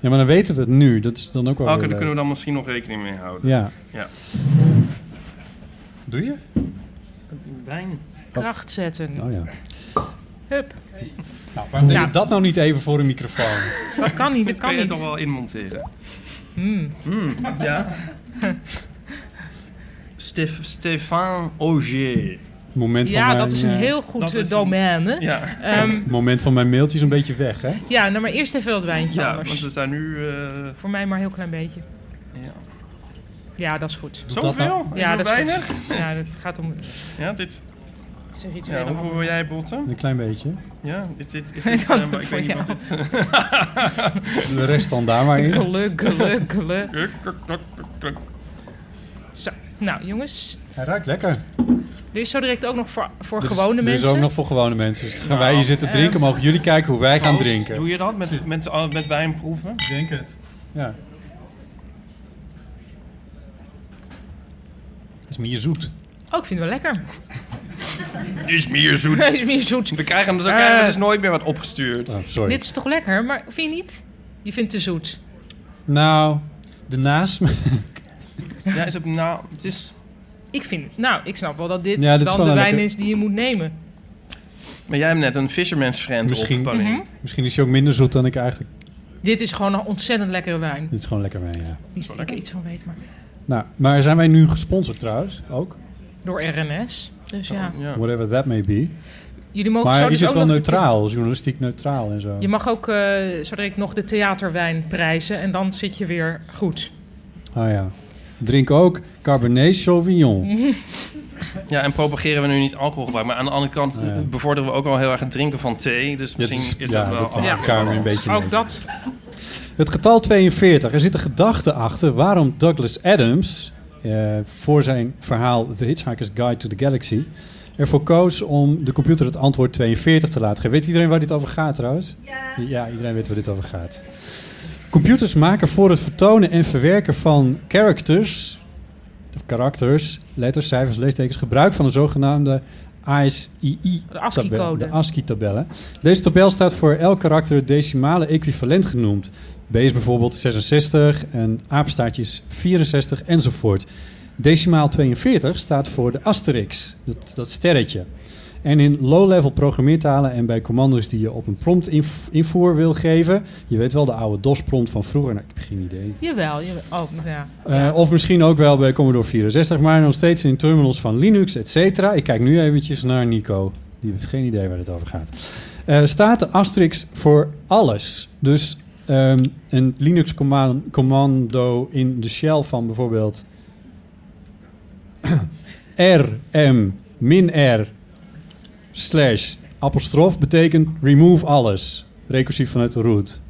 [SPEAKER 6] Ja, maar dan weten we het nu. Dat is dan ook wel
[SPEAKER 7] Oh, Oké,
[SPEAKER 6] weer
[SPEAKER 7] daar kunnen we
[SPEAKER 6] Oh, leuk.
[SPEAKER 7] dan misschien nog rekening mee houden.
[SPEAKER 6] Ja.
[SPEAKER 7] Ja.
[SPEAKER 6] Doe je?
[SPEAKER 7] Wijn.
[SPEAKER 3] Kracht zetten.
[SPEAKER 6] Oh ja.
[SPEAKER 3] Hup.
[SPEAKER 6] Nou, waarom deed
[SPEAKER 3] Ja.
[SPEAKER 6] je dat nou niet even voor een microfoon?
[SPEAKER 3] Dat kan niet, dat
[SPEAKER 7] Kan
[SPEAKER 3] kan
[SPEAKER 7] je het toch
[SPEAKER 3] niet.
[SPEAKER 7] wel inmonteren?
[SPEAKER 3] Hmm.
[SPEAKER 7] Hmm, ja. Stef, Stefan Auger.
[SPEAKER 6] Moment van
[SPEAKER 3] Ja,
[SPEAKER 6] mijn,
[SPEAKER 3] dat is een
[SPEAKER 6] eh,
[SPEAKER 3] heel goed
[SPEAKER 7] Dat
[SPEAKER 3] eh,
[SPEAKER 7] is een-
[SPEAKER 3] domein. hè?
[SPEAKER 7] Ja.
[SPEAKER 3] Ehm,
[SPEAKER 6] moment van mijn mailtje is een beetje weg, hè?
[SPEAKER 3] ja, nou maar eerst even dat wijntje
[SPEAKER 7] ja, want
[SPEAKER 3] anders.
[SPEAKER 7] we zijn nu... eh
[SPEAKER 3] Voor mij maar een heel klein beetje.
[SPEAKER 7] ja.
[SPEAKER 3] Ja, dat is goed.
[SPEAKER 6] dat nou.
[SPEAKER 7] Zoveel?
[SPEAKER 3] Ja, dat is
[SPEAKER 7] weinig.
[SPEAKER 3] goed. Ja, dat gaat om...
[SPEAKER 7] Ja, dit,
[SPEAKER 3] Ze ziet er
[SPEAKER 7] ja,
[SPEAKER 3] helemaal-
[SPEAKER 7] hoeveel wil jij botten?
[SPEAKER 6] Een klein beetje.
[SPEAKER 7] Ja, is dit... Is dit eh,
[SPEAKER 3] Dank
[SPEAKER 7] maar ik
[SPEAKER 3] voor
[SPEAKER 7] weet niet
[SPEAKER 3] jou.
[SPEAKER 7] wat dit... eh,
[SPEAKER 6] De rest dan daar maar in.
[SPEAKER 3] Geluk, geluk, geluk.
[SPEAKER 7] kluk, kluk, kluk, kluk, kluk.
[SPEAKER 3] Zo, nou jongens.
[SPEAKER 6] Hij ruikt lekker.
[SPEAKER 3] Er is zo direct ook nog voor, voor
[SPEAKER 6] Dus-
[SPEAKER 3] gewone
[SPEAKER 6] dus
[SPEAKER 3] mensen.
[SPEAKER 6] ook nog voor gewone mensen. Dus gaan wij hier zitten drinken, mogen jullie kijken hoe wij gaan
[SPEAKER 7] Proost.
[SPEAKER 6] drinken.
[SPEAKER 7] Doe je dat met, met, al- met wijn proeven?
[SPEAKER 6] denk het. Ja. Het is meer zoet.
[SPEAKER 3] Oh, ik vind het wel lekker.
[SPEAKER 7] Is meer
[SPEAKER 3] Het
[SPEAKER 7] zoet.
[SPEAKER 3] is meer zoet.
[SPEAKER 7] We krijgen, dus dan krijgen we
[SPEAKER 3] Eh.
[SPEAKER 7] dus nooit meer wat opgestuurd.
[SPEAKER 6] Oh, sorry.
[SPEAKER 3] Dit is toch lekker, maar vind je niet? Je vindt het te zoet.
[SPEAKER 6] Nou, de nasmaak.
[SPEAKER 7] Ja, is het, nou, het is,
[SPEAKER 3] Ik vind, nou, ik snap wel dat dit
[SPEAKER 6] Ja, dit is
[SPEAKER 3] dan
[SPEAKER 6] wel
[SPEAKER 3] de
[SPEAKER 6] een
[SPEAKER 3] wijn
[SPEAKER 6] lekker-
[SPEAKER 3] is die je moet nemen.
[SPEAKER 7] maar jij hebt net een fisherman's friend
[SPEAKER 6] Misschien.
[SPEAKER 7] op, Paulien.
[SPEAKER 6] Misschien is hij ook minder zoet dan ik eigenlijk.
[SPEAKER 3] Dit is gewoon een ontzettend lekkere wijn.
[SPEAKER 6] Dit is gewoon lekker mee, ja.
[SPEAKER 3] Niet dat ik er iets van weet, maar
[SPEAKER 6] Nou, maar zijn wij nu gesponsord trouwens? Ook?
[SPEAKER 3] door RNS. Dus ja,
[SPEAKER 7] Ja.
[SPEAKER 6] Whatever that may be.
[SPEAKER 3] jullie mogen zo
[SPEAKER 6] Oh. Maar
[SPEAKER 3] dus
[SPEAKER 6] is het
[SPEAKER 3] ook
[SPEAKER 6] wel
[SPEAKER 3] nog-
[SPEAKER 6] neutraal? Journalistiek neutraal en zo?
[SPEAKER 3] Je mag ook eh zo direct nog de theaterwijn prijzen en dan zit je weer goed.
[SPEAKER 6] Ah ja. Drink ook Cabernet Sauvignon.
[SPEAKER 7] ja, en propageren we nu niet alcoholgebruik. Maar aan de andere kant
[SPEAKER 6] ja.
[SPEAKER 7] bevorderen we ook al heel erg het drinken van thee. Dus misschien is,
[SPEAKER 6] ja,
[SPEAKER 7] dat wel...
[SPEAKER 6] dat
[SPEAKER 3] Ja.
[SPEAKER 6] haalt elkaar weer een beetje mee.
[SPEAKER 3] Ook dat.
[SPEAKER 6] Het getal 42. Er zit een gedachte achter waarom Douglas Adams eh, voor zijn verhaal The Hitchhiker's Guide to the Galaxy ervoor koos om de computer het antwoord 42 te laten geven. Weet iedereen waar dit over gaat trouwens? Ja. iedereen weet waar dit over gaat. Computers maken voor het vertonen en verwerken van characters, of karakters, letters, cijfers, leestekens gebruik van een zogenaamde ASII.
[SPEAKER 3] De ASCII-code.
[SPEAKER 6] De ASCII-tabellen. Deze tabel staat voor elk karakter het decimale equivalent genoemd. B is bijvoorbeeld 66 en apenstaartje is 64 enzovoort. Decimaal 42 staat voor de asterix, dat, dat sterretje. En in low-level programmeertalen en bij commando's die je op een prompt inv- invoer wil geven. Je weet wel de oude DOS-prompt van vroeger. Nou, ik heb geen idee.
[SPEAKER 3] Jawel, jawel. Oh, ja.
[SPEAKER 6] Eh, Of misschien ook wel bij Commodore 64, maar nog steeds in terminals van Linux, et cetera. Ik kijk nu eventjes naar Nico. Die heeft geen idee waar het over gaat. Eh, staat de asterisk voor alles. Dus ehm, een Linux-commando in de shell van bijvoorbeeld rm-r slash apostrof betekent remove alles. Recursief vanuit de root.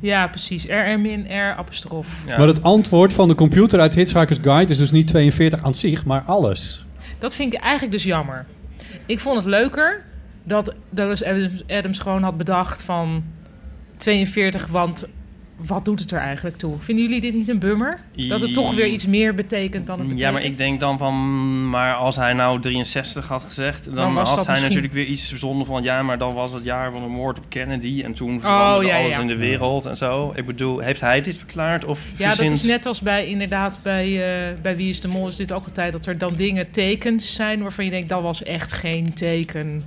[SPEAKER 3] ja, precies. RR min R apostrof.
[SPEAKER 7] Ja.
[SPEAKER 6] Maar het antwoord van de computer uit Hitchhiker's Guide is dus niet 42 aan zich, maar alles.
[SPEAKER 3] Dat vind ik eigenlijk dus jammer. Ik vond het leuker dat Douglas Adams, Adams gewoon had bedacht van 42, want wat doet het er eigenlijk toe? Vinden jullie dit niet een bummer? Dat het toch weer iets meer betekent dan het betekent?
[SPEAKER 7] Ja, maar ik denk dan van, maar als hij nou 63 had gezegd, dan,
[SPEAKER 3] Dan was
[SPEAKER 7] had
[SPEAKER 3] dat
[SPEAKER 7] hij
[SPEAKER 3] misschien-
[SPEAKER 7] natuurlijk weer iets verzonnen van, ja, maar dan was het jaar van de moord op Kennedy en toen veranderde
[SPEAKER 3] Oh, ja, ja,
[SPEAKER 7] alles
[SPEAKER 3] ja.
[SPEAKER 7] in de wereld en zo. Ik bedoel, heeft hij dit verklaard of
[SPEAKER 3] Ja, dat
[SPEAKER 7] verzint-
[SPEAKER 3] is net als bij inderdaad bij, eh, bij Wie is de Mol is dit ook altijd dat er dan dingen, tekens zijn waarvan je denkt dat was echt geen teken.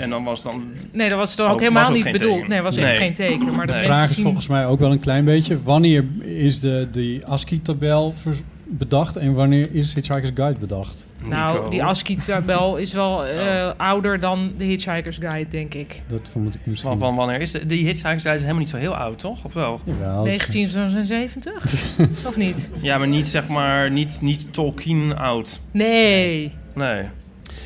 [SPEAKER 7] En dan was dan,
[SPEAKER 3] Nee, dat was dan ook
[SPEAKER 7] Oh, was
[SPEAKER 3] helemaal
[SPEAKER 7] ook
[SPEAKER 3] niet
[SPEAKER 7] geen
[SPEAKER 3] bedoeld.
[SPEAKER 7] teken.
[SPEAKER 3] Nee, was echt
[SPEAKER 7] Nee.
[SPEAKER 3] geen teken. Maar de
[SPEAKER 7] Nee.
[SPEAKER 3] mensen
[SPEAKER 6] De vraag is
[SPEAKER 3] zien-
[SPEAKER 6] volgens mij ook wel een klein beetje: wanneer is de, de ASCII-tabel vers- bedacht en wanneer is Hitchhiker's Guide bedacht?
[SPEAKER 3] Nou,
[SPEAKER 7] Nico. Oh.
[SPEAKER 3] die ASCII-tabel is wel eh, ouder dan de Hitchhiker's Guide, denk ik.
[SPEAKER 6] Dat vermoed ik misschien.
[SPEAKER 7] van, van wanneer is de, die hitzaak zijn helemaal niet zo heel oud, toch? Of wel?
[SPEAKER 6] Jawel.
[SPEAKER 3] 1970? of niet?
[SPEAKER 7] Ja, maar niet zeg maar, niet, niet Tolkien oud.
[SPEAKER 3] Nee.
[SPEAKER 7] Nee.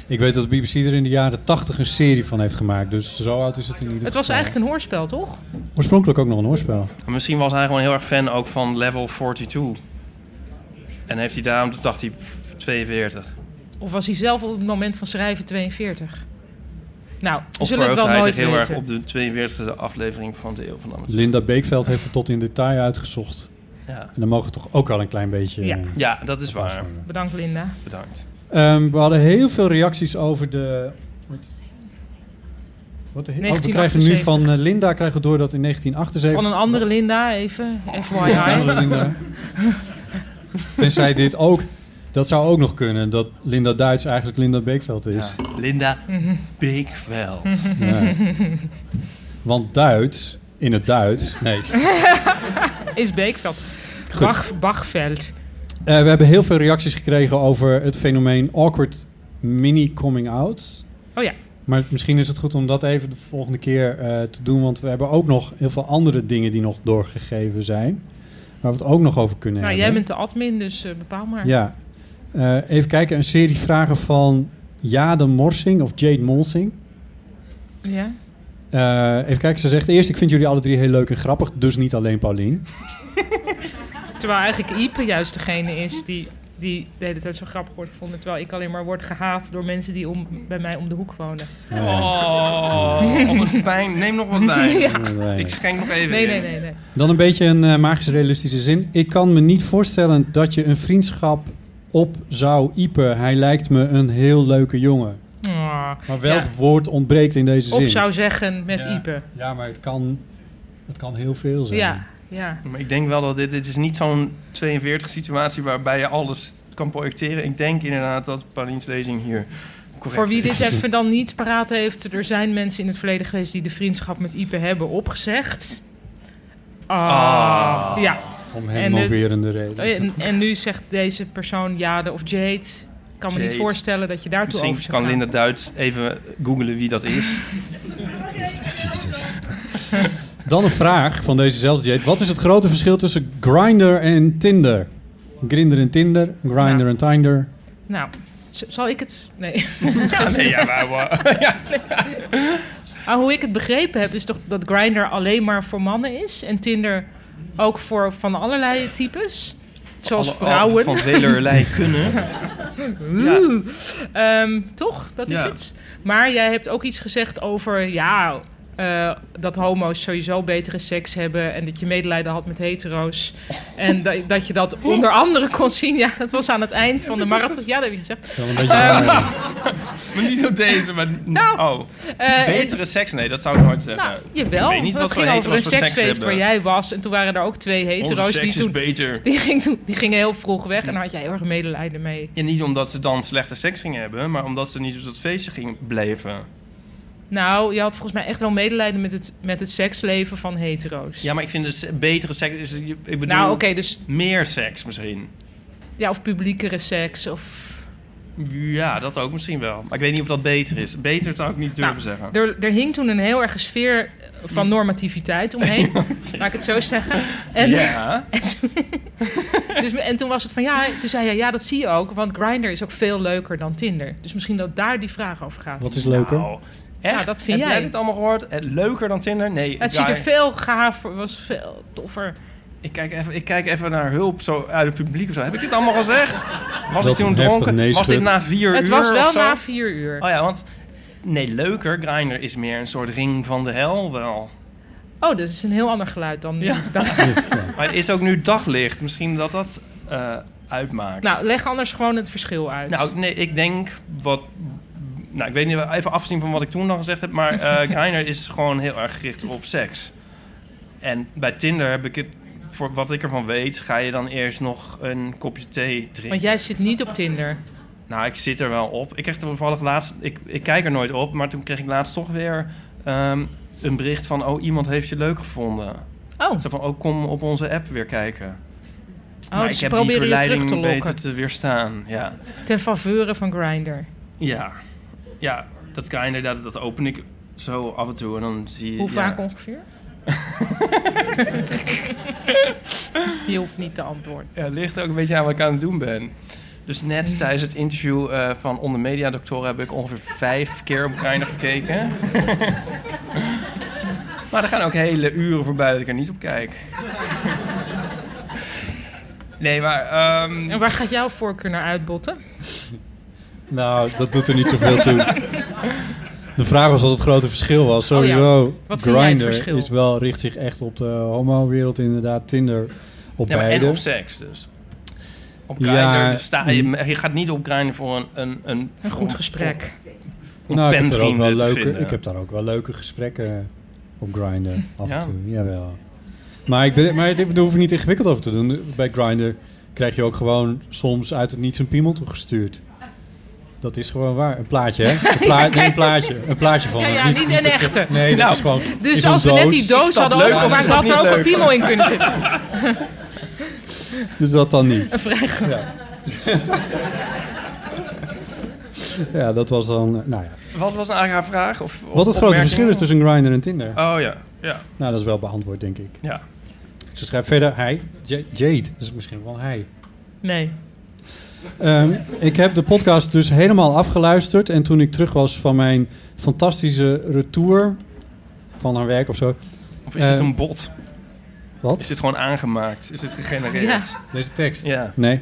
[SPEAKER 6] Ik weet dat de BBC er in de jaren 80 een serie van heeft gemaakt, dus zo oud is het in ieder geval.
[SPEAKER 3] Het was eigenlijk een hoorspel, toch?
[SPEAKER 6] Oorspronkelijk ook nog een hoorspel.
[SPEAKER 7] Maar Misschien was hij gewoon heel erg fan ook van level 42. En heeft hij daarom, toen dacht hij pff, 42.
[SPEAKER 3] Of was hij zelf op het moment van schrijven 42? Nou, we
[SPEAKER 7] Of
[SPEAKER 3] zullen het
[SPEAKER 7] verheugde
[SPEAKER 3] wel
[SPEAKER 7] hij
[SPEAKER 3] nooit
[SPEAKER 7] zich heel
[SPEAKER 3] weten.
[SPEAKER 7] erg op de 42e aflevering van de Eeuw van Amateur.
[SPEAKER 6] Linda Beekveld heeft het tot in detail uitgezocht.
[SPEAKER 7] Ja.
[SPEAKER 6] En dan mogen we toch ook al een klein beetje.
[SPEAKER 3] Ja.
[SPEAKER 6] eh,
[SPEAKER 7] ja, dat is waar.
[SPEAKER 3] Bedankt, Linda.
[SPEAKER 7] Bedankt.
[SPEAKER 6] Ehm, we hadden heel veel reacties over de. Wat de oh, we krijgen nu
[SPEAKER 3] 1978.
[SPEAKER 6] van eh, Linda krijgen we door dat
[SPEAKER 3] Van
[SPEAKER 6] in 1978.
[SPEAKER 3] een andere Linda, even.
[SPEAKER 6] Van
[SPEAKER 3] FYI.
[SPEAKER 6] andere Linda. Tenzij dit ook. Dat zou ook nog kunnen, dat Linda Duits eigenlijk Linda Beekveld is.
[SPEAKER 7] Linda
[SPEAKER 3] Mhm.
[SPEAKER 7] Beekveld.
[SPEAKER 6] Ja. Want Duits, in het Duits. Nee. Eh,
[SPEAKER 3] Is Beekveld.
[SPEAKER 6] Goed.
[SPEAKER 3] Bach, Bachveld.
[SPEAKER 6] Eh, we hebben heel veel reacties gekregen over het fenomeen awkward mini coming out.
[SPEAKER 3] Oh ja.
[SPEAKER 6] Maar misschien is het goed om dat even de volgende keer eh, te doen. Want we hebben ook nog heel veel andere dingen die nog doorgegeven zijn. Waar we het ook nog over kunnen
[SPEAKER 3] Nou, jij
[SPEAKER 6] hebben.
[SPEAKER 3] bent de admin, dus eh, bepaal maar.
[SPEAKER 6] Ja. Eh, even kijken, een serie vragen van Jade Morsing of Jade Molsing.
[SPEAKER 3] Ja?
[SPEAKER 6] Eh, even kijken, ze zegt eerst... ik vind jullie alle drie heel leuk en grappig, dus niet alleen Paulien.
[SPEAKER 3] Terwijl eigenlijk Ipe juist degene is die, die de hele tijd zo grappig wordt gevonden. Terwijl ik alleen maar word gehaat door mensen die om, bij mij om de hoek wonen.
[SPEAKER 6] Eh,
[SPEAKER 7] Oh, op het pijn. Neem nog wat bij.
[SPEAKER 6] Nee.
[SPEAKER 7] Ik schenk nog even
[SPEAKER 3] Nee,
[SPEAKER 7] in.
[SPEAKER 3] nee, nee. nee.
[SPEAKER 6] Dan een beetje een eh, magisch-realistische zin. Ik kan me niet voorstellen dat je een vriendschap op zou iepen. Hij lijkt me een heel leuke jongen.
[SPEAKER 3] Ah.
[SPEAKER 6] Maar welk
[SPEAKER 3] Ja.
[SPEAKER 6] woord ontbreekt in deze
[SPEAKER 3] Op
[SPEAKER 6] zin?
[SPEAKER 3] zou zeggen met
[SPEAKER 6] Ja.
[SPEAKER 3] Ipe.
[SPEAKER 6] Ja, maar het kan, het kan heel veel zijn.
[SPEAKER 3] Ja, ja.
[SPEAKER 7] Maar ik denk wel dat dit, dit is niet zo'n 42 situatie waarbij je alles kan projecteren. Ik denk inderdaad dat Paulien's lezing hier correct
[SPEAKER 3] Voor wie
[SPEAKER 7] is.
[SPEAKER 3] dit even dan niet paraat heeft, er zijn mensen in het verleden geweest die de vriendschap met Ipe hebben opgezegd. Ah.
[SPEAKER 7] Ah.
[SPEAKER 3] Ja.
[SPEAKER 6] Om
[SPEAKER 3] En het- Oh
[SPEAKER 6] hemoverende reden.
[SPEAKER 3] En, en nu zegt deze persoon Jade of Jade. Ik kan me niet
[SPEAKER 7] Jade.
[SPEAKER 3] voorstellen dat je daartoe
[SPEAKER 7] Misschien
[SPEAKER 3] over zou
[SPEAKER 7] kan
[SPEAKER 3] gaan.
[SPEAKER 7] Linda Duits even googelen wie dat is.
[SPEAKER 6] Jezus. Dan een vraag van dezezelfde Jade. Wat is het grote verschil tussen Grindr en Tinder? Grinder en Tinder, Grindr
[SPEAKER 3] Nou.
[SPEAKER 6] en Tinder.
[SPEAKER 3] Nou, z- zal ik het... Nee.
[SPEAKER 7] Ja, nee, ja, maar, maar-
[SPEAKER 3] Maar hoe ik het begrepen heb, is toch dat Grindr alleen maar voor mannen is. En Tinder ook voor van allerlei types. Zoals
[SPEAKER 7] Alle-
[SPEAKER 3] vrouwen.
[SPEAKER 7] Van velerlei kunnen.
[SPEAKER 3] Oeh. Ehm, toch? Dat is
[SPEAKER 7] Ja.
[SPEAKER 3] het. Maar jij hebt ook iets gezegd over... Ja, eh, dat homo's sowieso betere seks hebben en dat je medelijden had met hetero's.
[SPEAKER 7] Oh.
[SPEAKER 3] En da- dat je dat onder andere kon zien. Ja, dat was aan het eind van de marathon. Ja, dat heb je gezegd.
[SPEAKER 6] Zo een beetje
[SPEAKER 3] Ehm.
[SPEAKER 6] raar.
[SPEAKER 7] Maar niet op deze, maar...
[SPEAKER 3] Nou,
[SPEAKER 7] oh,
[SPEAKER 3] Eh,
[SPEAKER 7] betere seks? Nee, dat zou ik nooit zeggen.
[SPEAKER 3] Nou, jawel.
[SPEAKER 7] Ik weet niet
[SPEAKER 3] dat
[SPEAKER 7] wat voor
[SPEAKER 3] ging over een
[SPEAKER 7] hetero's voor seks
[SPEAKER 3] seksfeest waar
[SPEAKER 7] hebben.
[SPEAKER 3] jij was. En toen waren er ook twee
[SPEAKER 7] Onze
[SPEAKER 3] hetero's
[SPEAKER 7] seks
[SPEAKER 3] die
[SPEAKER 7] is
[SPEAKER 3] toen...
[SPEAKER 7] beter.
[SPEAKER 3] Die, ging toen, die gingen heel vroeg weg en daar had jij heel erg medelijden mee.
[SPEAKER 7] Ja, niet omdat ze dan slechte seks gingen hebben, maar omdat ze niet op dat feestje gingen blijven.
[SPEAKER 3] Nou, je had volgens mij echt wel medelijden met het, met het seksleven van hetero's.
[SPEAKER 7] Ja, maar ik vind dus betere seks... Is, ik bedoel,
[SPEAKER 3] nou, oké, dus...
[SPEAKER 7] meer seks misschien.
[SPEAKER 3] Ja, of publiekere seks of...
[SPEAKER 7] Ja, dat ook misschien wel. Maar ik weet niet of dat beter is. Beter zou ik niet durven
[SPEAKER 3] Nou,
[SPEAKER 7] zeggen.
[SPEAKER 3] Er, er hing toen een heel erge sfeer van normativiteit omheen. laat ik het zo zeggen. En,
[SPEAKER 7] ja.
[SPEAKER 3] dus, en toen was het van ja, toen zei jij ja, dat zie je ook. Want Grindr is ook veel leuker dan Tinder. Dus misschien dat daar die vraag over gaat.
[SPEAKER 6] Wat is leuker?
[SPEAKER 7] Nou, echt?
[SPEAKER 3] Ja, dat vind
[SPEAKER 7] Heb
[SPEAKER 3] jij.
[SPEAKER 7] dit allemaal gehoord? Eh, Leuker dan Tinder? Nee.
[SPEAKER 3] Het
[SPEAKER 7] ik-
[SPEAKER 3] ziet
[SPEAKER 7] ja,
[SPEAKER 3] er veel gaver, was veel toffer.
[SPEAKER 7] Ik kijk, even, ik kijk even naar hulp zo uit het publiek of zo. Heb ik dit allemaal gezegd? Was
[SPEAKER 6] Dat
[SPEAKER 7] ik toen
[SPEAKER 6] heftig
[SPEAKER 7] dronken?
[SPEAKER 6] nee
[SPEAKER 7] was dit
[SPEAKER 6] schudt.
[SPEAKER 7] na vier uur
[SPEAKER 3] Het was wel
[SPEAKER 7] of zo?
[SPEAKER 3] na vier uur.
[SPEAKER 7] Oh ja, want... Nee, leuker. Grindr is meer een soort ring van de hel wel.
[SPEAKER 3] Oh, dat is een heel ander geluid dan.
[SPEAKER 7] Ja.
[SPEAKER 3] dan-
[SPEAKER 7] Maar het is ook nu daglicht. Misschien dat dat eh, uitmaakt.
[SPEAKER 3] nou, leg anders gewoon het verschil uit.
[SPEAKER 7] Nou, nee, ik denk wat... Nou, ik weet niet, even afzien van wat ik toen al gezegd heb... maar eh Grindr is gewoon heel erg gericht op seks. En bij Tinder heb ik het... Voor wat ik ervan weet, ga je dan eerst nog een kopje thee drinken.
[SPEAKER 3] want jij zit niet op Tinder.
[SPEAKER 7] Nou, ik zit er wel op. Ik kreeg toevallig laatst... Ik, ik kijk er nooit op, maar toen kreeg ik laatst toch weer... ehm, een bericht van, oh, iemand heeft je leuk gevonden.
[SPEAKER 3] Oh,
[SPEAKER 7] Zo van, oh, kom op onze app weer kijken.
[SPEAKER 3] oh dus ze proberen je terug te lokken.
[SPEAKER 7] weten te weerstaan, ja.
[SPEAKER 3] Ten faveur van Grindr.
[SPEAKER 7] Ja, ja dat kan inderdaad, dat open ik zo af en toe en dan zie je...
[SPEAKER 3] Hoe
[SPEAKER 7] ja.
[SPEAKER 3] vaak ongeveer? je hoeft niet te antwoorden.
[SPEAKER 7] Ja, het ligt ook een beetje aan wat ik aan het doen ben. Dus net tijdens het interview eh, van Onder Media Doctoren heb ik ongeveer vijf keer op Grindr gekeken. maar er gaan ook hele uren voorbij dat ik er niet op kijk. Nee, maar... ehm,
[SPEAKER 3] En waar gaat jouw voorkeur naar uitbotten?
[SPEAKER 6] Nou, dat doet er niet zoveel toe. De vraag was wat het grote verschil was.
[SPEAKER 3] Oh ja.
[SPEAKER 6] Sowieso,
[SPEAKER 3] Wat vind jij het
[SPEAKER 6] Grindr
[SPEAKER 3] verschil?
[SPEAKER 6] is wel, richt zich echt op de homo-wereld inderdaad. Tinder op
[SPEAKER 7] Ja, maar
[SPEAKER 6] beide.
[SPEAKER 7] en op seks dus. Op Grindr
[SPEAKER 6] Ja, mm.
[SPEAKER 7] sta je, je gaat niet op Grindr voor een, een, een,
[SPEAKER 3] Een
[SPEAKER 7] voor-
[SPEAKER 3] goed gesprek.
[SPEAKER 7] om
[SPEAKER 6] nou, ik heb, daar ook
[SPEAKER 7] penvrienden
[SPEAKER 6] wel
[SPEAKER 7] te
[SPEAKER 6] leuke,
[SPEAKER 7] vinden.
[SPEAKER 6] ik heb daar ook wel leuke gesprekken op Grindr af
[SPEAKER 7] Ja.
[SPEAKER 6] en toe. Jawel. Maar, ik ben, maar dit- daar hoef ik niet ingewikkeld over te doen. Bij Grindr krijg je ook gewoon soms uit het niets een piemel toegestuurd. Dat is gewoon waar. Een plaatje, hè? Een, pla- nee, een plaatje. Een plaatje van...
[SPEAKER 3] Ja, ja, niet een
[SPEAKER 6] dat je-
[SPEAKER 3] echte.
[SPEAKER 6] Nee, dat
[SPEAKER 7] Nou,
[SPEAKER 6] is gewoon...
[SPEAKER 3] Dus
[SPEAKER 6] is een
[SPEAKER 3] als we
[SPEAKER 6] doos.
[SPEAKER 3] net die doos
[SPEAKER 7] dat
[SPEAKER 3] hadden,
[SPEAKER 7] leuk
[SPEAKER 3] opgemaakt,
[SPEAKER 7] of is dat
[SPEAKER 3] had er
[SPEAKER 7] niet
[SPEAKER 3] ook een
[SPEAKER 7] leuk?
[SPEAKER 3] piemel in kunnen zitten.
[SPEAKER 6] Dus dat dan niet.
[SPEAKER 3] Vrij
[SPEAKER 6] Ja. ja, dat was dan. eh, Nou ja.
[SPEAKER 7] Wat was nou eigenlijk haar vraag? Of, of
[SPEAKER 6] Wat het grote
[SPEAKER 7] opmerking?
[SPEAKER 6] verschil is tussen Grindr en Tinder?
[SPEAKER 7] Oh ja, ja,
[SPEAKER 6] Nou, dat is wel beantwoord, denk ik.
[SPEAKER 7] ja.
[SPEAKER 6] Ze schrijft verder: Hij, J- Jade, dat is misschien wel hij.
[SPEAKER 3] Nee.
[SPEAKER 6] Ehm, ik heb de podcast dus helemaal afgeluisterd. En toen ik terug was van mijn fantastische retour van haar werk of zo.
[SPEAKER 7] Of is
[SPEAKER 6] Eh,
[SPEAKER 7] het een bot? Is
[SPEAKER 6] Wat?
[SPEAKER 7] dit gewoon aangemaakt? Is dit gegenereerd?
[SPEAKER 6] Deze tekst.
[SPEAKER 7] Ja.
[SPEAKER 6] Nee.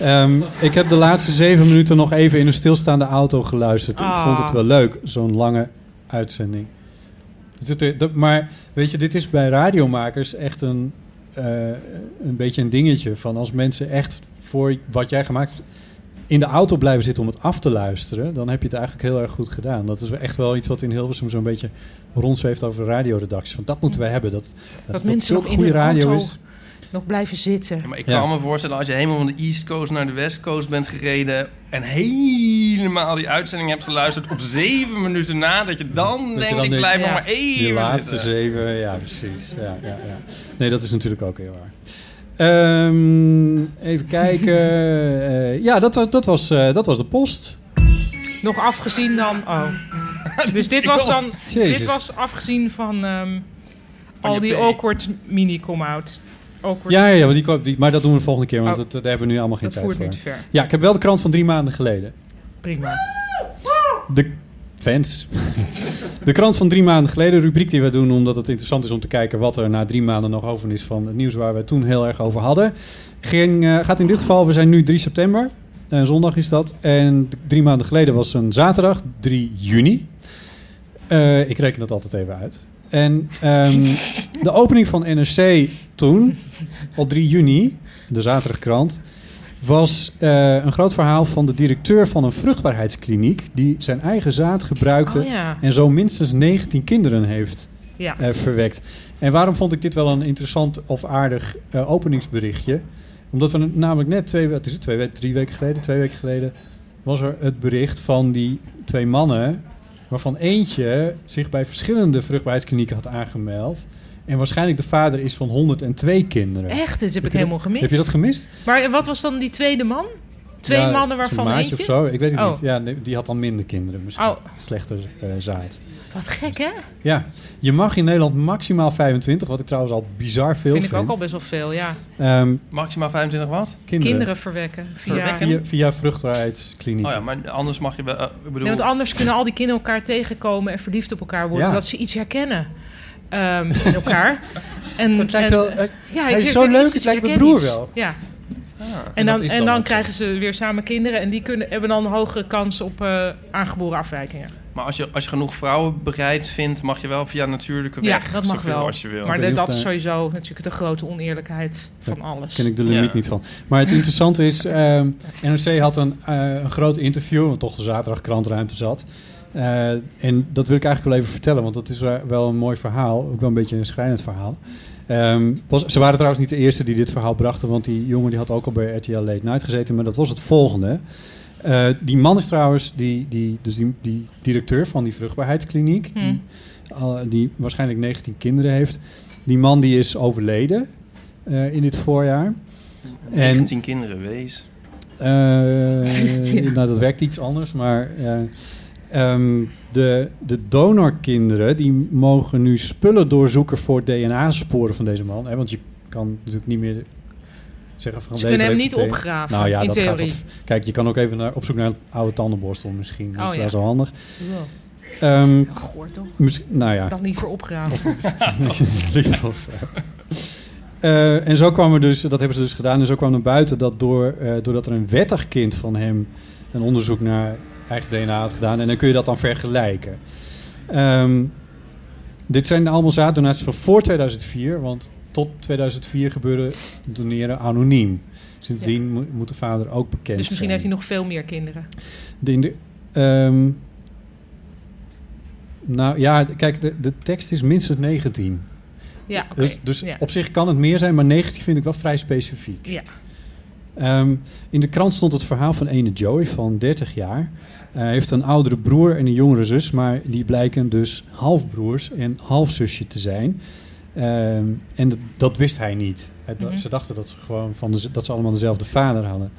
[SPEAKER 6] Ehm, ik heb de laatste zeven minuten nog even in een stilstaande auto geluisterd. Ik
[SPEAKER 3] Ah.
[SPEAKER 6] vond het wel leuk, zo'n lange uitzending. Dit- dit- dat- Maar weet je, dit is bij radiomakers echt een, eh, een beetje een dingetje. Van als mensen echt voor wat jij gemaakt hebt in de auto blijven zitten om het af te luisteren... dan heb je het eigenlijk heel erg goed gedaan. Dat is echt wel iets wat in Hilversum zo'n beetje rondzweeft over de radioredacties. Van dat moeten we hebben, dat, dat,
[SPEAKER 3] Dat
[SPEAKER 6] dat
[SPEAKER 3] mensen
[SPEAKER 6] zulke
[SPEAKER 3] nog in
[SPEAKER 6] goede
[SPEAKER 3] hun
[SPEAKER 6] radio
[SPEAKER 3] auto-
[SPEAKER 6] is.
[SPEAKER 3] Nog blijven zitten.
[SPEAKER 7] Maar ik
[SPEAKER 6] Ja.
[SPEAKER 7] kan me voorstellen, als je helemaal van de East Coast naar de West Coast bent gereden... en helemaal die uitzending hebt geluisterd op zeven minuten na... dat je dan
[SPEAKER 6] je
[SPEAKER 7] denkt,
[SPEAKER 6] dan
[SPEAKER 7] ik
[SPEAKER 6] denkt,
[SPEAKER 7] blijf
[SPEAKER 3] ja.
[SPEAKER 7] nog maar even
[SPEAKER 6] Die laatste
[SPEAKER 7] zitten.
[SPEAKER 6] zeven, ja, precies. Ja, ja, ja. Nee, dat is natuurlijk ook heel waar. Ehm, even kijken. Eh, ja, dat, wa- dat, was, eh, dat was de post.
[SPEAKER 3] Nog afgezien dan. Oh. Dus dit was dan.
[SPEAKER 6] Jezus.
[SPEAKER 3] Dit was afgezien van. ehm, al
[SPEAKER 7] je
[SPEAKER 3] die
[SPEAKER 7] P.
[SPEAKER 3] awkward mini-come-out. Awkward.
[SPEAKER 6] E. Ja, ja, ja, want die, kwam- die, maar dat doen we de volgende keer, want
[SPEAKER 3] Oh.
[SPEAKER 6] dat, daar hebben we nu allemaal geen
[SPEAKER 3] dat
[SPEAKER 6] tijd
[SPEAKER 3] voert
[SPEAKER 6] voor.
[SPEAKER 3] nu te ver.
[SPEAKER 6] Ja, ik heb wel de krant van drie maanden geleden.
[SPEAKER 3] Prima.
[SPEAKER 6] De fans. De krant van drie maanden geleden, rubriek die we doen, omdat het interessant is om te kijken wat er na drie maanden nog over is van het nieuws waar we het toen heel erg over hadden. Ging, eh, gaat in dit geval, we zijn nu 3 september, eh, zondag is dat. En d- drie maanden geleden was een zaterdag, 3 juni. Eh, ik reken dat altijd even uit. En ehm, de opening van NRC toen, op 3 juni, de zaterdagkrant, was eh, een groot verhaal van de directeur van een vruchtbaarheidskliniek die zijn eigen zaad gebruikte
[SPEAKER 3] Oh ja.
[SPEAKER 6] en zo minstens 19 kinderen heeft
[SPEAKER 3] Ja.
[SPEAKER 6] eh, verwekt. En waarom vond ik dit wel een interessant of aardig eh, openingsberichtje? Omdat we namelijk net twee, wat is het, twee, we- drie weken geleden, twee weken geleden, was er het bericht van die twee mannen, waarvan eentje zich bij verschillende vruchtbaarheidsklinieken had aangemeld. En waarschijnlijk de vader is van 102 kinderen.
[SPEAKER 3] Echt, dit heb, ik
[SPEAKER 6] je
[SPEAKER 3] helemaal
[SPEAKER 6] dat-
[SPEAKER 3] gemist.
[SPEAKER 6] Heb je dat gemist?
[SPEAKER 3] Maar en wat was dan die tweede man? Twee
[SPEAKER 6] Ja,
[SPEAKER 3] mannen
[SPEAKER 6] zijn
[SPEAKER 3] waarvan
[SPEAKER 6] maatje
[SPEAKER 3] eentje?
[SPEAKER 6] of zo, ik weet het
[SPEAKER 3] Oh.
[SPEAKER 6] niet. Ja, nee, die had dan minder kinderen. Misschien
[SPEAKER 3] Oh.
[SPEAKER 6] slechter eh, zaad.
[SPEAKER 3] Wat gek, hè?
[SPEAKER 6] Ja, je mag in Nederland maximaal 25, wat ik trouwens al bizar veel
[SPEAKER 3] Vind
[SPEAKER 6] vind.
[SPEAKER 3] ik ook al best wel veel, ja.
[SPEAKER 6] Ehm,
[SPEAKER 7] Maximaal 25 watt?
[SPEAKER 6] kinderen.
[SPEAKER 3] Kinderen verwekken. Ja.
[SPEAKER 7] Verwekken?
[SPEAKER 6] Via, via vruchtbaarheidskliniek.
[SPEAKER 7] Oh ja, maar anders mag je wel... eh, ik bedoel,
[SPEAKER 3] Nee, want anders kunnen al die kinderen elkaar tegenkomen en verliefd op elkaar worden,
[SPEAKER 6] Ja.
[SPEAKER 3] omdat ze iets herkennen ehm, in elkaar. En,
[SPEAKER 6] Het lijkt
[SPEAKER 3] en-
[SPEAKER 6] wel, eh,
[SPEAKER 3] ja,
[SPEAKER 6] hij
[SPEAKER 3] ik-
[SPEAKER 6] is
[SPEAKER 3] ik-
[SPEAKER 6] zo
[SPEAKER 3] ik-
[SPEAKER 6] leuk,
[SPEAKER 3] ik-
[SPEAKER 6] het
[SPEAKER 3] ik
[SPEAKER 6] lijkt mijn
[SPEAKER 3] herken
[SPEAKER 6] broer
[SPEAKER 3] iets.
[SPEAKER 6] wel.
[SPEAKER 3] Ja.
[SPEAKER 7] ah,
[SPEAKER 3] En
[SPEAKER 7] dat
[SPEAKER 3] dan,
[SPEAKER 7] is
[SPEAKER 3] en dan
[SPEAKER 7] ook zo.
[SPEAKER 3] krijgen
[SPEAKER 6] eh.
[SPEAKER 3] ze weer samen kinderen en die kunnen, hebben dan een hogere kans op eh, aangeboren afwijkingen.
[SPEAKER 7] Maar als je, als je genoeg vrouwen bereid vindt, mag je wel via natuurlijke
[SPEAKER 3] Ja,
[SPEAKER 7] weg
[SPEAKER 3] dat mag
[SPEAKER 7] zoveel
[SPEAKER 3] wel.
[SPEAKER 7] als je wil.
[SPEAKER 3] Maar
[SPEAKER 6] Ik
[SPEAKER 3] dat,
[SPEAKER 6] weet niet of
[SPEAKER 3] dat is
[SPEAKER 6] daar-
[SPEAKER 3] sowieso natuurlijk de grote oneerlijkheid van alles.
[SPEAKER 6] ken ik de limiet
[SPEAKER 7] Ja.
[SPEAKER 6] niet van. Maar het interessante is, ehm, NRC had een, eh, een groot interview, want toch de zaterdag krantruimte zat. Eh, en dat wil ik eigenlijk wel even vertellen, want dat is wel- wel een mooi verhaal. Ook wel een beetje een schrijnend verhaal. Ehm, pas, ze waren trouwens niet de eerste die dit verhaal brachten, want die jongen die had ook al bij RTL Late Night gezeten. Maar dat was het volgende. Eh, die man is trouwens, die, die, dus die, die directeur van die vruchtbaarheidskliniek,
[SPEAKER 3] Hm. Hmm.
[SPEAKER 6] die, al- die waarschijnlijk 19 kinderen heeft. Die man die is overleden eh, in dit voorjaar. En
[SPEAKER 7] 19 kinderen, wees.
[SPEAKER 6] eh, Nou, dat werkt iets anders, maar eh, ehm, de, de donorkinderen die mogen nu spullen doorzoeken voor DNA-sporen van deze man. Hè, want je kan natuurlijk niet meer zeggen van
[SPEAKER 3] Ze
[SPEAKER 6] deze
[SPEAKER 3] kunnen hem
[SPEAKER 6] heeft
[SPEAKER 3] niet
[SPEAKER 6] meteen-
[SPEAKER 3] opgraven,
[SPEAKER 6] Nou ja,
[SPEAKER 3] in
[SPEAKER 6] dat gaat
[SPEAKER 3] theorie.
[SPEAKER 6] wat- Kijk, je kan ook even naar, op zoek naar een oude tandenborstel misschien. Dat
[SPEAKER 3] Oh
[SPEAKER 6] is
[SPEAKER 3] ja.
[SPEAKER 6] wel zo handig.
[SPEAKER 3] Wow.
[SPEAKER 6] Ehm,
[SPEAKER 3] Ja, goor toch?
[SPEAKER 6] misschien- nou ja,
[SPEAKER 3] Dan liever opgraven.
[SPEAKER 6] Liep op. Eh, en zo kwam er dus, dat hebben ze dus gedaan, en zo kwam er buiten dat door, eh, doordat er een wettig kind van hem een onderzoek naar eigen DNA had gedaan. En dan kun je dat dan vergelijken. Ehm, dit zijn allemaal zaaddonaties van voor 2004, want tot 2004 gebeurde doneren anoniem. Sindsdien mo- moet de vader ook bekend zijn.
[SPEAKER 3] Dus misschien heeft hij nog veel meer kinderen.
[SPEAKER 6] De, in de, ehm, nou ja, kijk, de, de tekst is minstens 19.
[SPEAKER 3] Ja, oké.
[SPEAKER 6] Dus, dus
[SPEAKER 3] ja.
[SPEAKER 6] op zich kan het meer zijn, maar 19 vind ik wel vrij specifiek.
[SPEAKER 3] Ja.
[SPEAKER 6] Ehm, in de krant stond het verhaal van ene Joey van 30 jaar. Hij heeft een oudere broer en een jongere zus, maar die blijken dus halfbroers en halfzusje te zijn. Ehm, en dat, dat wist hij niet. Hij dacht-
[SPEAKER 3] Mhm.
[SPEAKER 6] Ze dachten dat ze, gewoon van de, dat ze allemaal dezelfde vader hadden.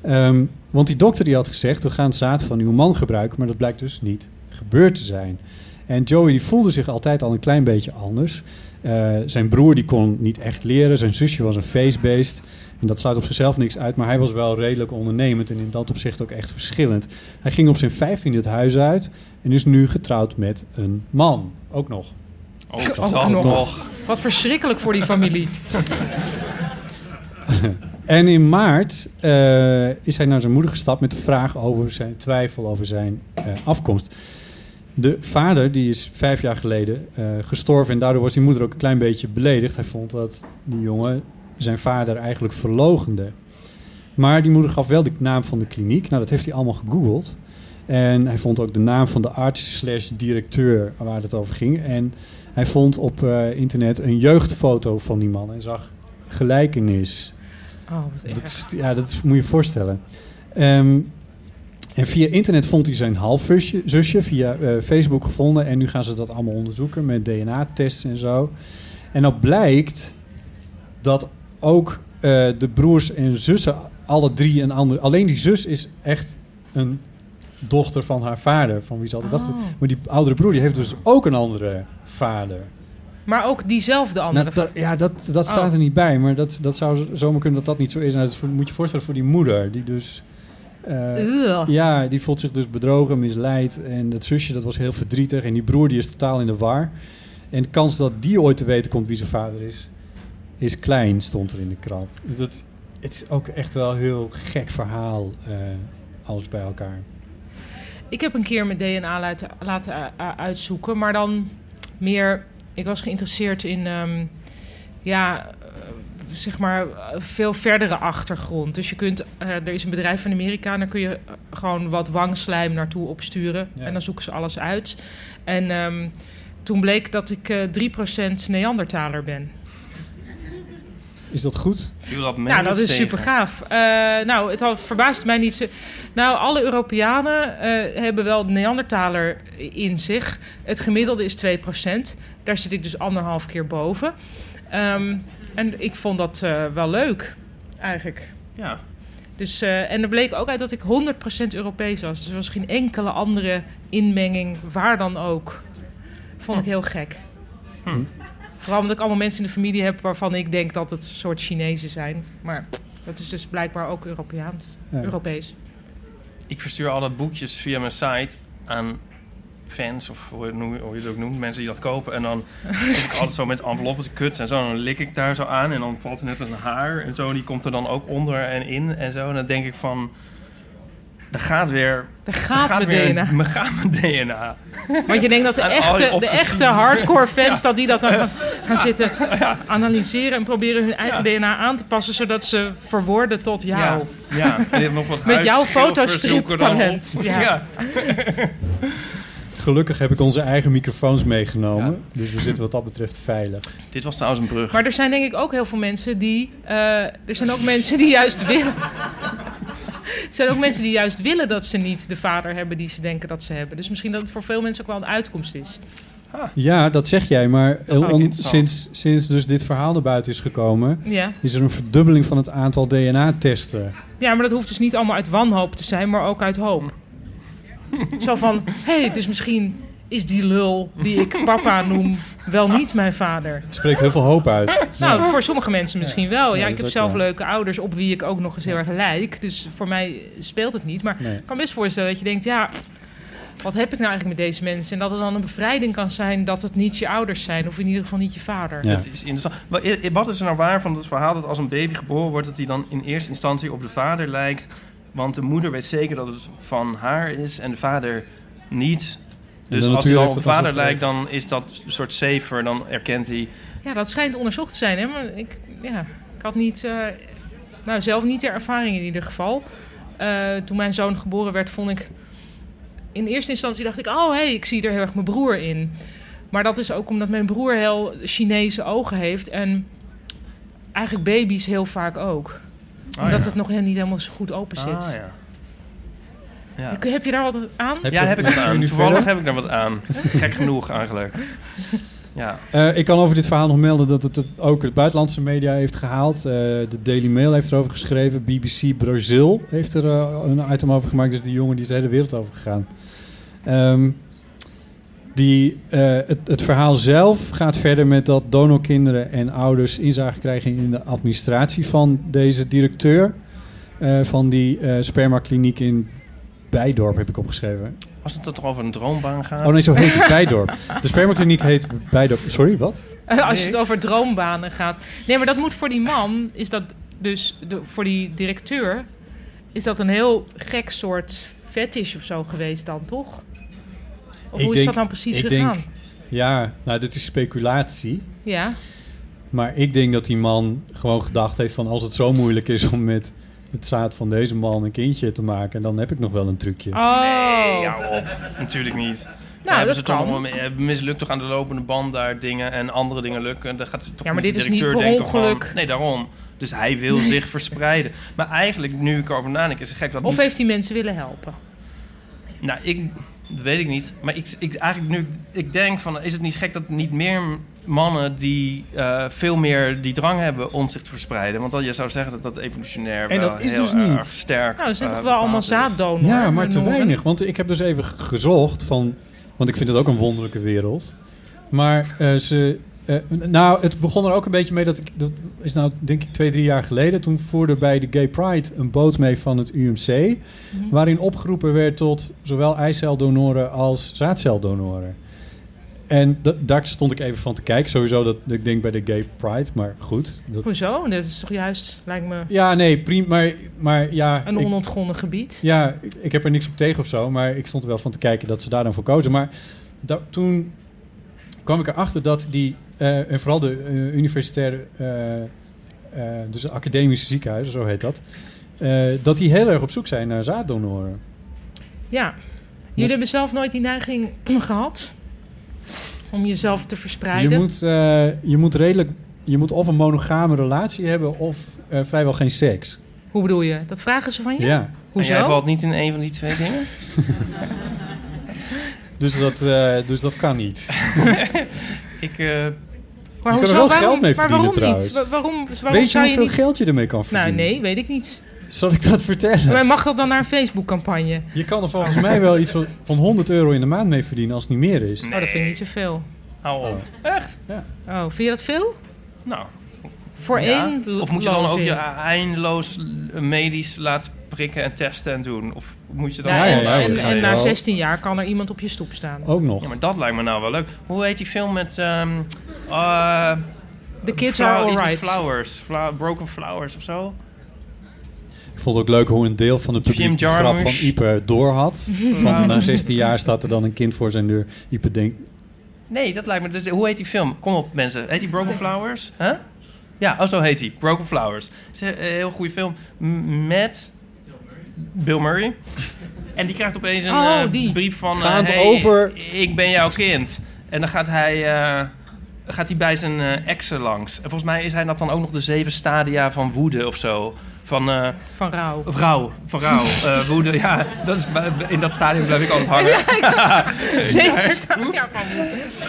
[SPEAKER 6] Ehm, want die dokter die had gezegd, we gaan het zaad van uw man gebruiken, maar dat blijkt dus niet gebeurd te zijn. En Joey die voelde zich altijd al een klein beetje anders. Eh, zijn broer die kon niet echt leren, zijn zusje was een feestbeest. En dat sluit op zichzelf niks uit, maar hij was wel redelijk ondernemend en in dat opzicht ook echt verschillend. Hij ging op zijn 15e het huis uit en is nu getrouwd met een man. Ook nog.
[SPEAKER 7] Oh,
[SPEAKER 3] Ook
[SPEAKER 7] dat zal
[SPEAKER 3] nog.
[SPEAKER 7] nog.
[SPEAKER 3] Wat verschrikkelijk voor die familie.
[SPEAKER 6] En in maart eh, is hij naar zijn moeder gestapt met de vraag over zijn twijfel over zijn eh, afkomst. De vader die is vijf jaar geleden eh, gestorven en daardoor was die moeder ook een klein beetje beledigd. Hij vond dat die jongen zijn vader eigenlijk verlogende. Maar die moeder gaf wel de naam van de kliniek. Nou, dat heeft hij allemaal gegoogeld. En hij vond ook de naam van de arts slash directeur waar het over ging. En hij vond op eh, internet een jeugdfoto van die man en zag gelijkenis.
[SPEAKER 3] Oh, wat erg.
[SPEAKER 6] Dat is, ja, dat is- moet je je voorstellen. Ehm, en via internet vond hij zijn halfzusje zusje via eh, Facebook gevonden. En nu gaan ze dat allemaal onderzoeken met DNA-tests en zo. En dan blijkt dat ook eh, de broers en zussen, alle drie een ander. Alleen die zus is echt een dochter van haar vader, van wie ze altijd dachten.
[SPEAKER 3] Oh.
[SPEAKER 6] Maar die oudere broer die heeft dus ook een andere vader.
[SPEAKER 3] Maar ook diezelfde andere. Oh.
[SPEAKER 6] Nou, dat- ja, dat, dat staat er niet bij. Maar dat, dat zou z- zomaar kunnen dat dat niet zo is. Nou, dat vo- moet je voorstellen voor die moeder. Die dus... eh,
[SPEAKER 3] Ugh.
[SPEAKER 6] ja, die voelt zich dus bedrogen, misleid. En dat zusje, dat was heel verdrietig. En die broer, die is totaal in de war. En de kans dat die ooit te weten komt wie zijn vader is... is klein, stond er in de krant. Dus Dat, het is ook echt wel een heel gek verhaal. eh, alles bij elkaar.
[SPEAKER 3] Ik heb een keer mijn DNA laten, laten eh, eh, uitzoeken, maar dan meer. Ik was geïnteresseerd in, ehm, ja, eh, zeg maar, eh, veel verdere achtergrond. Dus je kunt, eh, er is een bedrijf in Amerika en daar kun je eh, gewoon wat wangslijm naartoe opsturen.
[SPEAKER 6] Ja.
[SPEAKER 3] En dan zoeken ze alles uit. En ehm, toen bleek dat ik eh 3% Neandertaler ben.
[SPEAKER 6] Is dat goed?
[SPEAKER 7] Viel dat mee
[SPEAKER 3] Nou, dat
[SPEAKER 7] of
[SPEAKER 3] is
[SPEAKER 7] tegen?
[SPEAKER 3] super gaaf. nou, het had verbaast mij niet. zo- Nou, alle Europeanen eh, hebben wel Neandertaler in zich. Het gemiddelde is 2%. Daar zit ik dus anderhalf keer boven. Ehm, en ik vond dat eh, wel leuk, eigenlijk.
[SPEAKER 7] Ja.
[SPEAKER 3] Dus, eh, en er bleek ook uit dat ik 100% Europees was. Dus er was geen enkele andere inmenging, waar dan ook. Vond ik heel gek. Vooral omdat ik allemaal mensen in de familie heb waarvan ik denk dat het soort Chinezen zijn. Maar dat is dus blijkbaar ook Europeaans.
[SPEAKER 6] Ja.
[SPEAKER 3] Europees.
[SPEAKER 7] Ik verstuur alle boekjes via mijn site aan fans, of hoe je het noemt- hoe je het ook noemt, mensen die dat kopen. En dan zit ik altijd zo met enveloppen te kutsen en zo. En dan lik ik daar zo aan en dan valt er net een haar en zo. En die komt er dan ook onder en in en zo. En dan denk ik van, daar gaat weer...
[SPEAKER 3] Daar
[SPEAKER 7] daar
[SPEAKER 3] gaat, mijn
[SPEAKER 7] weer-
[SPEAKER 3] DNA.
[SPEAKER 7] daar gaat mijn DNA.
[SPEAKER 3] Want je denkt dat de
[SPEAKER 7] Aan al die
[SPEAKER 3] echte, de
[SPEAKER 7] obsessieve-
[SPEAKER 3] echte hardcore fans... dat die dat dan gaan, gaan zitten analyseren... en proberen hun eigen DNA aan te passen... zodat ze verwoorden tot jou.
[SPEAKER 7] Ja, ja. En dit nog wat
[SPEAKER 3] Nou. Met jouw
[SPEAKER 7] huisschilfers zoeken dan op.
[SPEAKER 3] fotostriptalent.
[SPEAKER 7] Ja.
[SPEAKER 3] Ja.
[SPEAKER 6] Gelukkig heb ik onze eigen microfoons meegenomen. Dus we zitten wat dat betreft veilig.
[SPEAKER 7] dit was trouwens een brug.
[SPEAKER 3] Maar er zijn denk ik ook heel veel mensen die. eh, er zijn ook mensen die juist willen. Er zijn ook mensen die juist willen dat ze niet de vader hebben die ze denken dat ze hebben. Dus misschien dat het voor veel mensen ook wel een uitkomst is.
[SPEAKER 6] Ja, dat zeg jij. Maar heel
[SPEAKER 7] vind ik
[SPEAKER 6] on-
[SPEAKER 7] interessant.
[SPEAKER 6] sinds, sinds dus dit verhaal naar buiten is gekomen...
[SPEAKER 3] Ja.
[SPEAKER 6] is er een verdubbeling van het aantal DNA-testen.
[SPEAKER 3] ja, maar dat hoeft dus niet allemaal uit wanhoop te zijn, maar ook uit hoop. Zo van: hé, hey, dus misschien is die lul die ik papa noem wel niet mijn vader.
[SPEAKER 6] Spreekt heel veel hoop uit.
[SPEAKER 3] Nou, voor sommige mensen misschien wel. Ja,
[SPEAKER 6] dat
[SPEAKER 3] ik
[SPEAKER 6] is
[SPEAKER 3] heb
[SPEAKER 6] ook
[SPEAKER 3] zelf
[SPEAKER 6] waar.
[SPEAKER 3] leuke ouders op wie ik ook nog eens heel erg lijk. Dus voor mij speelt het niet. Maar
[SPEAKER 6] Nee.
[SPEAKER 3] ik kan best voorstellen dat je denkt, ja, wat heb ik nou eigenlijk met deze mensen? En dat het dan een bevrijding kan zijn dat het niet je ouders zijn. Of in ieder geval niet je vader.
[SPEAKER 6] Ja.
[SPEAKER 7] Dat is interessant. Wa- i- Wat is er nou waar van het verhaal dat als een baby geboren wordt, dat hij dan in eerste instantie op de vader lijkt? Want de moeder weet zeker dat het van haar is en de vader niet. Dus
[SPEAKER 6] de
[SPEAKER 7] als hij
[SPEAKER 6] natuur
[SPEAKER 7] dan
[SPEAKER 6] heeft
[SPEAKER 7] op de
[SPEAKER 6] het dan
[SPEAKER 7] vader
[SPEAKER 6] zo
[SPEAKER 7] lijkt, dan is dat een soort safer. Dan erkent hij.
[SPEAKER 3] Ja, dat schijnt onderzocht te zijn. Hè? Maar ik, ja, ik had niet, eh, nou, zelf niet de ervaring in ieder geval. Eh, toen mijn zoon geboren werd, vond ik... In eerste instantie dacht ik, oh hé, hey, ik zie er heel erg mijn broer in. Maar dat is ook omdat mijn broer heel Chinese ogen heeft. En eigenlijk baby's heel vaak ook.
[SPEAKER 7] Ah,
[SPEAKER 3] omdat
[SPEAKER 7] ja.
[SPEAKER 3] het nog helemaal niet helemaal zo goed open zit.
[SPEAKER 7] Ah, ja. Ja.
[SPEAKER 3] Heb je daar wat aan?
[SPEAKER 7] ja, daar heb ik wat aan.
[SPEAKER 6] nu
[SPEAKER 7] Toevallig
[SPEAKER 6] verder?
[SPEAKER 7] heb ik daar wat aan. Gek genoeg eigenlijk. Ja.
[SPEAKER 6] Eh, ik kan over dit verhaal nog melden dat het, het ook het buitenlandse media heeft gehaald. Eh, de Daily Mail heeft erover geschreven. BBC Brazil heeft er eh, een item over gemaakt. Dus die jongen die is de hele wereld over gegaan. Ehm, die, eh, het, het verhaal zelf gaat verder met dat donorkinderen en ouders inzage krijgen in de administratie van deze directeur. eh, van die eh spermakliniek in Bijdorp heb ik opgeschreven.
[SPEAKER 7] Als het er toch over een droombaan gaat.
[SPEAKER 6] Oh nee, zo heet het Bijdorp. De spermakliniek heet Bijdorp. Sorry, wat?
[SPEAKER 3] Als je het over droombanen gaat. Nee, maar dat moet voor die man, is dat dus de, voor die directeur, is dat een heel gek soort fetish of zo geweest dan, toch? Of hoe
[SPEAKER 6] Ik
[SPEAKER 3] is
[SPEAKER 6] denk-
[SPEAKER 3] dat dan precies
[SPEAKER 6] ik
[SPEAKER 3] gegaan?
[SPEAKER 6] denk- Ja, nou, dit is speculatie.
[SPEAKER 3] Ja,
[SPEAKER 6] Maar ik denk dat die man gewoon gedacht heeft van... als het zo moeilijk is om met het zaad van deze man een kindje te maken... dan heb ik nog wel een trucje.
[SPEAKER 3] oh. Nou,
[SPEAKER 7] Nee, hou op. Natuurlijk niet. Dan hebben
[SPEAKER 3] dat
[SPEAKER 7] ze toch
[SPEAKER 3] kan.
[SPEAKER 7] allemaal mee- eh, mislukt toch aan de lopende band daar dingen en andere dingen lukken. En dan gaat ze toch
[SPEAKER 3] Ja, maar
[SPEAKER 7] niet
[SPEAKER 3] dit
[SPEAKER 7] de
[SPEAKER 3] is niet
[SPEAKER 7] directeur
[SPEAKER 3] per
[SPEAKER 7] denken van-
[SPEAKER 3] ongeluk.
[SPEAKER 7] nee, daarom. Dus hij wil zich verspreiden. Maar eigenlijk, nu ik erover nadenk, is het gek dat...
[SPEAKER 3] Of
[SPEAKER 7] niet-
[SPEAKER 3] heeft hij mensen willen helpen?
[SPEAKER 7] Nou, ik... Dat weet ik niet. Maar ik, ik eigenlijk nu... Ik denk van, is het niet gek dat niet meer mannen die eh, veel meer die drang hebben om zich te verspreiden? Want dan, je zou zeggen dat dat evolutionair
[SPEAKER 6] En
[SPEAKER 7] wel
[SPEAKER 6] dat is
[SPEAKER 7] heel
[SPEAKER 6] dus niet.
[SPEAKER 7] erg sterk
[SPEAKER 3] Nou, er zijn
[SPEAKER 7] eh,
[SPEAKER 3] toch wel allemaal
[SPEAKER 7] bepaald is.
[SPEAKER 3] zaaddonoren?
[SPEAKER 6] ja, maar te
[SPEAKER 3] donoren?
[SPEAKER 6] weinig. Want ik heb dus even g- gezocht van... want ik vind het ook een wonderlijke wereld. Maar eh, ze... eh, nou, het begon er ook een beetje mee dat ik... dat is nou denk ik twee, drie jaar geleden. Toen voerde bij de Gay Pride een boot mee van het UMC... waarin opgeroepen werd tot zowel eiceldonoren als zaadceldonoren. En da- daar stond ik even van te kijken. Sowieso dat ik denk bij de Gay Pride, maar goed. Dat,
[SPEAKER 3] Hoezo? Dat is toch juist, lijkt me,
[SPEAKER 6] ja, nee, prima. Maar, maar ja,
[SPEAKER 3] een
[SPEAKER 6] ik-
[SPEAKER 3] onontgonnen gebied.
[SPEAKER 6] ja ik, ik heb er niks op tegen of zo. Maar ik stond er wel van te kijken dat ze daar dan voor kozen. Maar da- toen kwam ik erachter dat die... eh, en vooral de eh, universitaire... eh, eh, dus de academische ziekenhuizen, zo heet dat... eh, dat die heel erg op zoek zijn naar zaaddonoren.
[SPEAKER 3] Ja. Jullie hebben zelf nooit die neiging gehad om jezelf te verspreiden.
[SPEAKER 6] Je moet, eh, je moet redelijk... Je moet of een monogame relatie hebben of eh, vrijwel geen seks.
[SPEAKER 3] Hoe bedoel je? Dat vragen ze van je?
[SPEAKER 6] Ja.
[SPEAKER 3] Hoezo?
[SPEAKER 7] En jij valt niet in een van die twee dingen?
[SPEAKER 6] Dus, dat, eh, dus dat kan niet.
[SPEAKER 7] Ik, eh,
[SPEAKER 3] maar
[SPEAKER 6] je kan er
[SPEAKER 3] hoezo?
[SPEAKER 6] wel geld mee
[SPEAKER 3] maar
[SPEAKER 6] verdienen
[SPEAKER 3] waarom
[SPEAKER 6] trouwens.
[SPEAKER 3] niet? Wa- Waarom, waarom
[SPEAKER 6] Weet je
[SPEAKER 3] zou je
[SPEAKER 6] hoeveel
[SPEAKER 3] niet...
[SPEAKER 6] geld je ermee kan
[SPEAKER 3] Nou,
[SPEAKER 6] verdienen?
[SPEAKER 3] nee, weet ik niet.
[SPEAKER 6] Zal ik dat vertellen?
[SPEAKER 3] Maar mag dat dan naar een Facebook-campagne?
[SPEAKER 6] Je kan er volgens mij wel iets van, van 100 euro in de maand mee verdienen als het niet meer is.
[SPEAKER 3] Oh, dat vind ik niet zoveel.
[SPEAKER 7] hou op. Echt?
[SPEAKER 3] Oh, vind je dat veel?
[SPEAKER 7] Nou.
[SPEAKER 3] Voor
[SPEAKER 7] ja.
[SPEAKER 3] één Nou, l-
[SPEAKER 7] Of moet je dan ook
[SPEAKER 3] lozing?
[SPEAKER 7] je eindeloos eh, medisch laten prikken en testen en doen? Of moet je dan...
[SPEAKER 3] Ja,
[SPEAKER 6] Ja,
[SPEAKER 3] en,
[SPEAKER 6] ja, ja,
[SPEAKER 3] en,
[SPEAKER 6] dat ga je
[SPEAKER 3] en na
[SPEAKER 6] wel.
[SPEAKER 3] 16 jaar kan er iemand op je stoep staan.
[SPEAKER 6] Ook
[SPEAKER 7] Ja,
[SPEAKER 6] nog.
[SPEAKER 7] maar dat lijkt me nou wel leuk. Hoe heet die film met... ehm eh,
[SPEAKER 3] The kids
[SPEAKER 7] Flower-
[SPEAKER 3] are
[SPEAKER 7] iets met
[SPEAKER 3] alright.
[SPEAKER 7] Flowers. Fla- broken Flowers of zo?
[SPEAKER 6] Ik vond het ook leuk hoe een deel van het
[SPEAKER 7] Jim
[SPEAKER 6] publiek de grap
[SPEAKER 7] Jarmusch.
[SPEAKER 6] van Ipe door had. Van na 16 jaar staat er dan een kind voor zijn deur. Ipe denkt,
[SPEAKER 7] Nee, dat lijkt me... dus- hoe heet die film? Kom op, mensen. Heet die Broken Flowers? Huh? Ja, oh, zo heet die. Broken Flowers. Het is een eh, heel goede film m- met Bill Murray. En die krijgt opeens een
[SPEAKER 3] Oh,
[SPEAKER 7] eh,
[SPEAKER 3] die.
[SPEAKER 7] brief van... eh,
[SPEAKER 6] Gaand
[SPEAKER 7] hey,
[SPEAKER 6] over-
[SPEAKER 7] ik ben jouw kind. En dan gaat hij... eh, gaat hij bij zijn eh, exen langs. En volgens mij is hij dat dan ook nog de zeven stadia van woede of zo. Van... eh,
[SPEAKER 3] Van rouw.
[SPEAKER 7] Vrouw, van rouw, eh, woede, ja, dat is, in dat stadium blijf ik altijd hangen.
[SPEAKER 3] Zeker.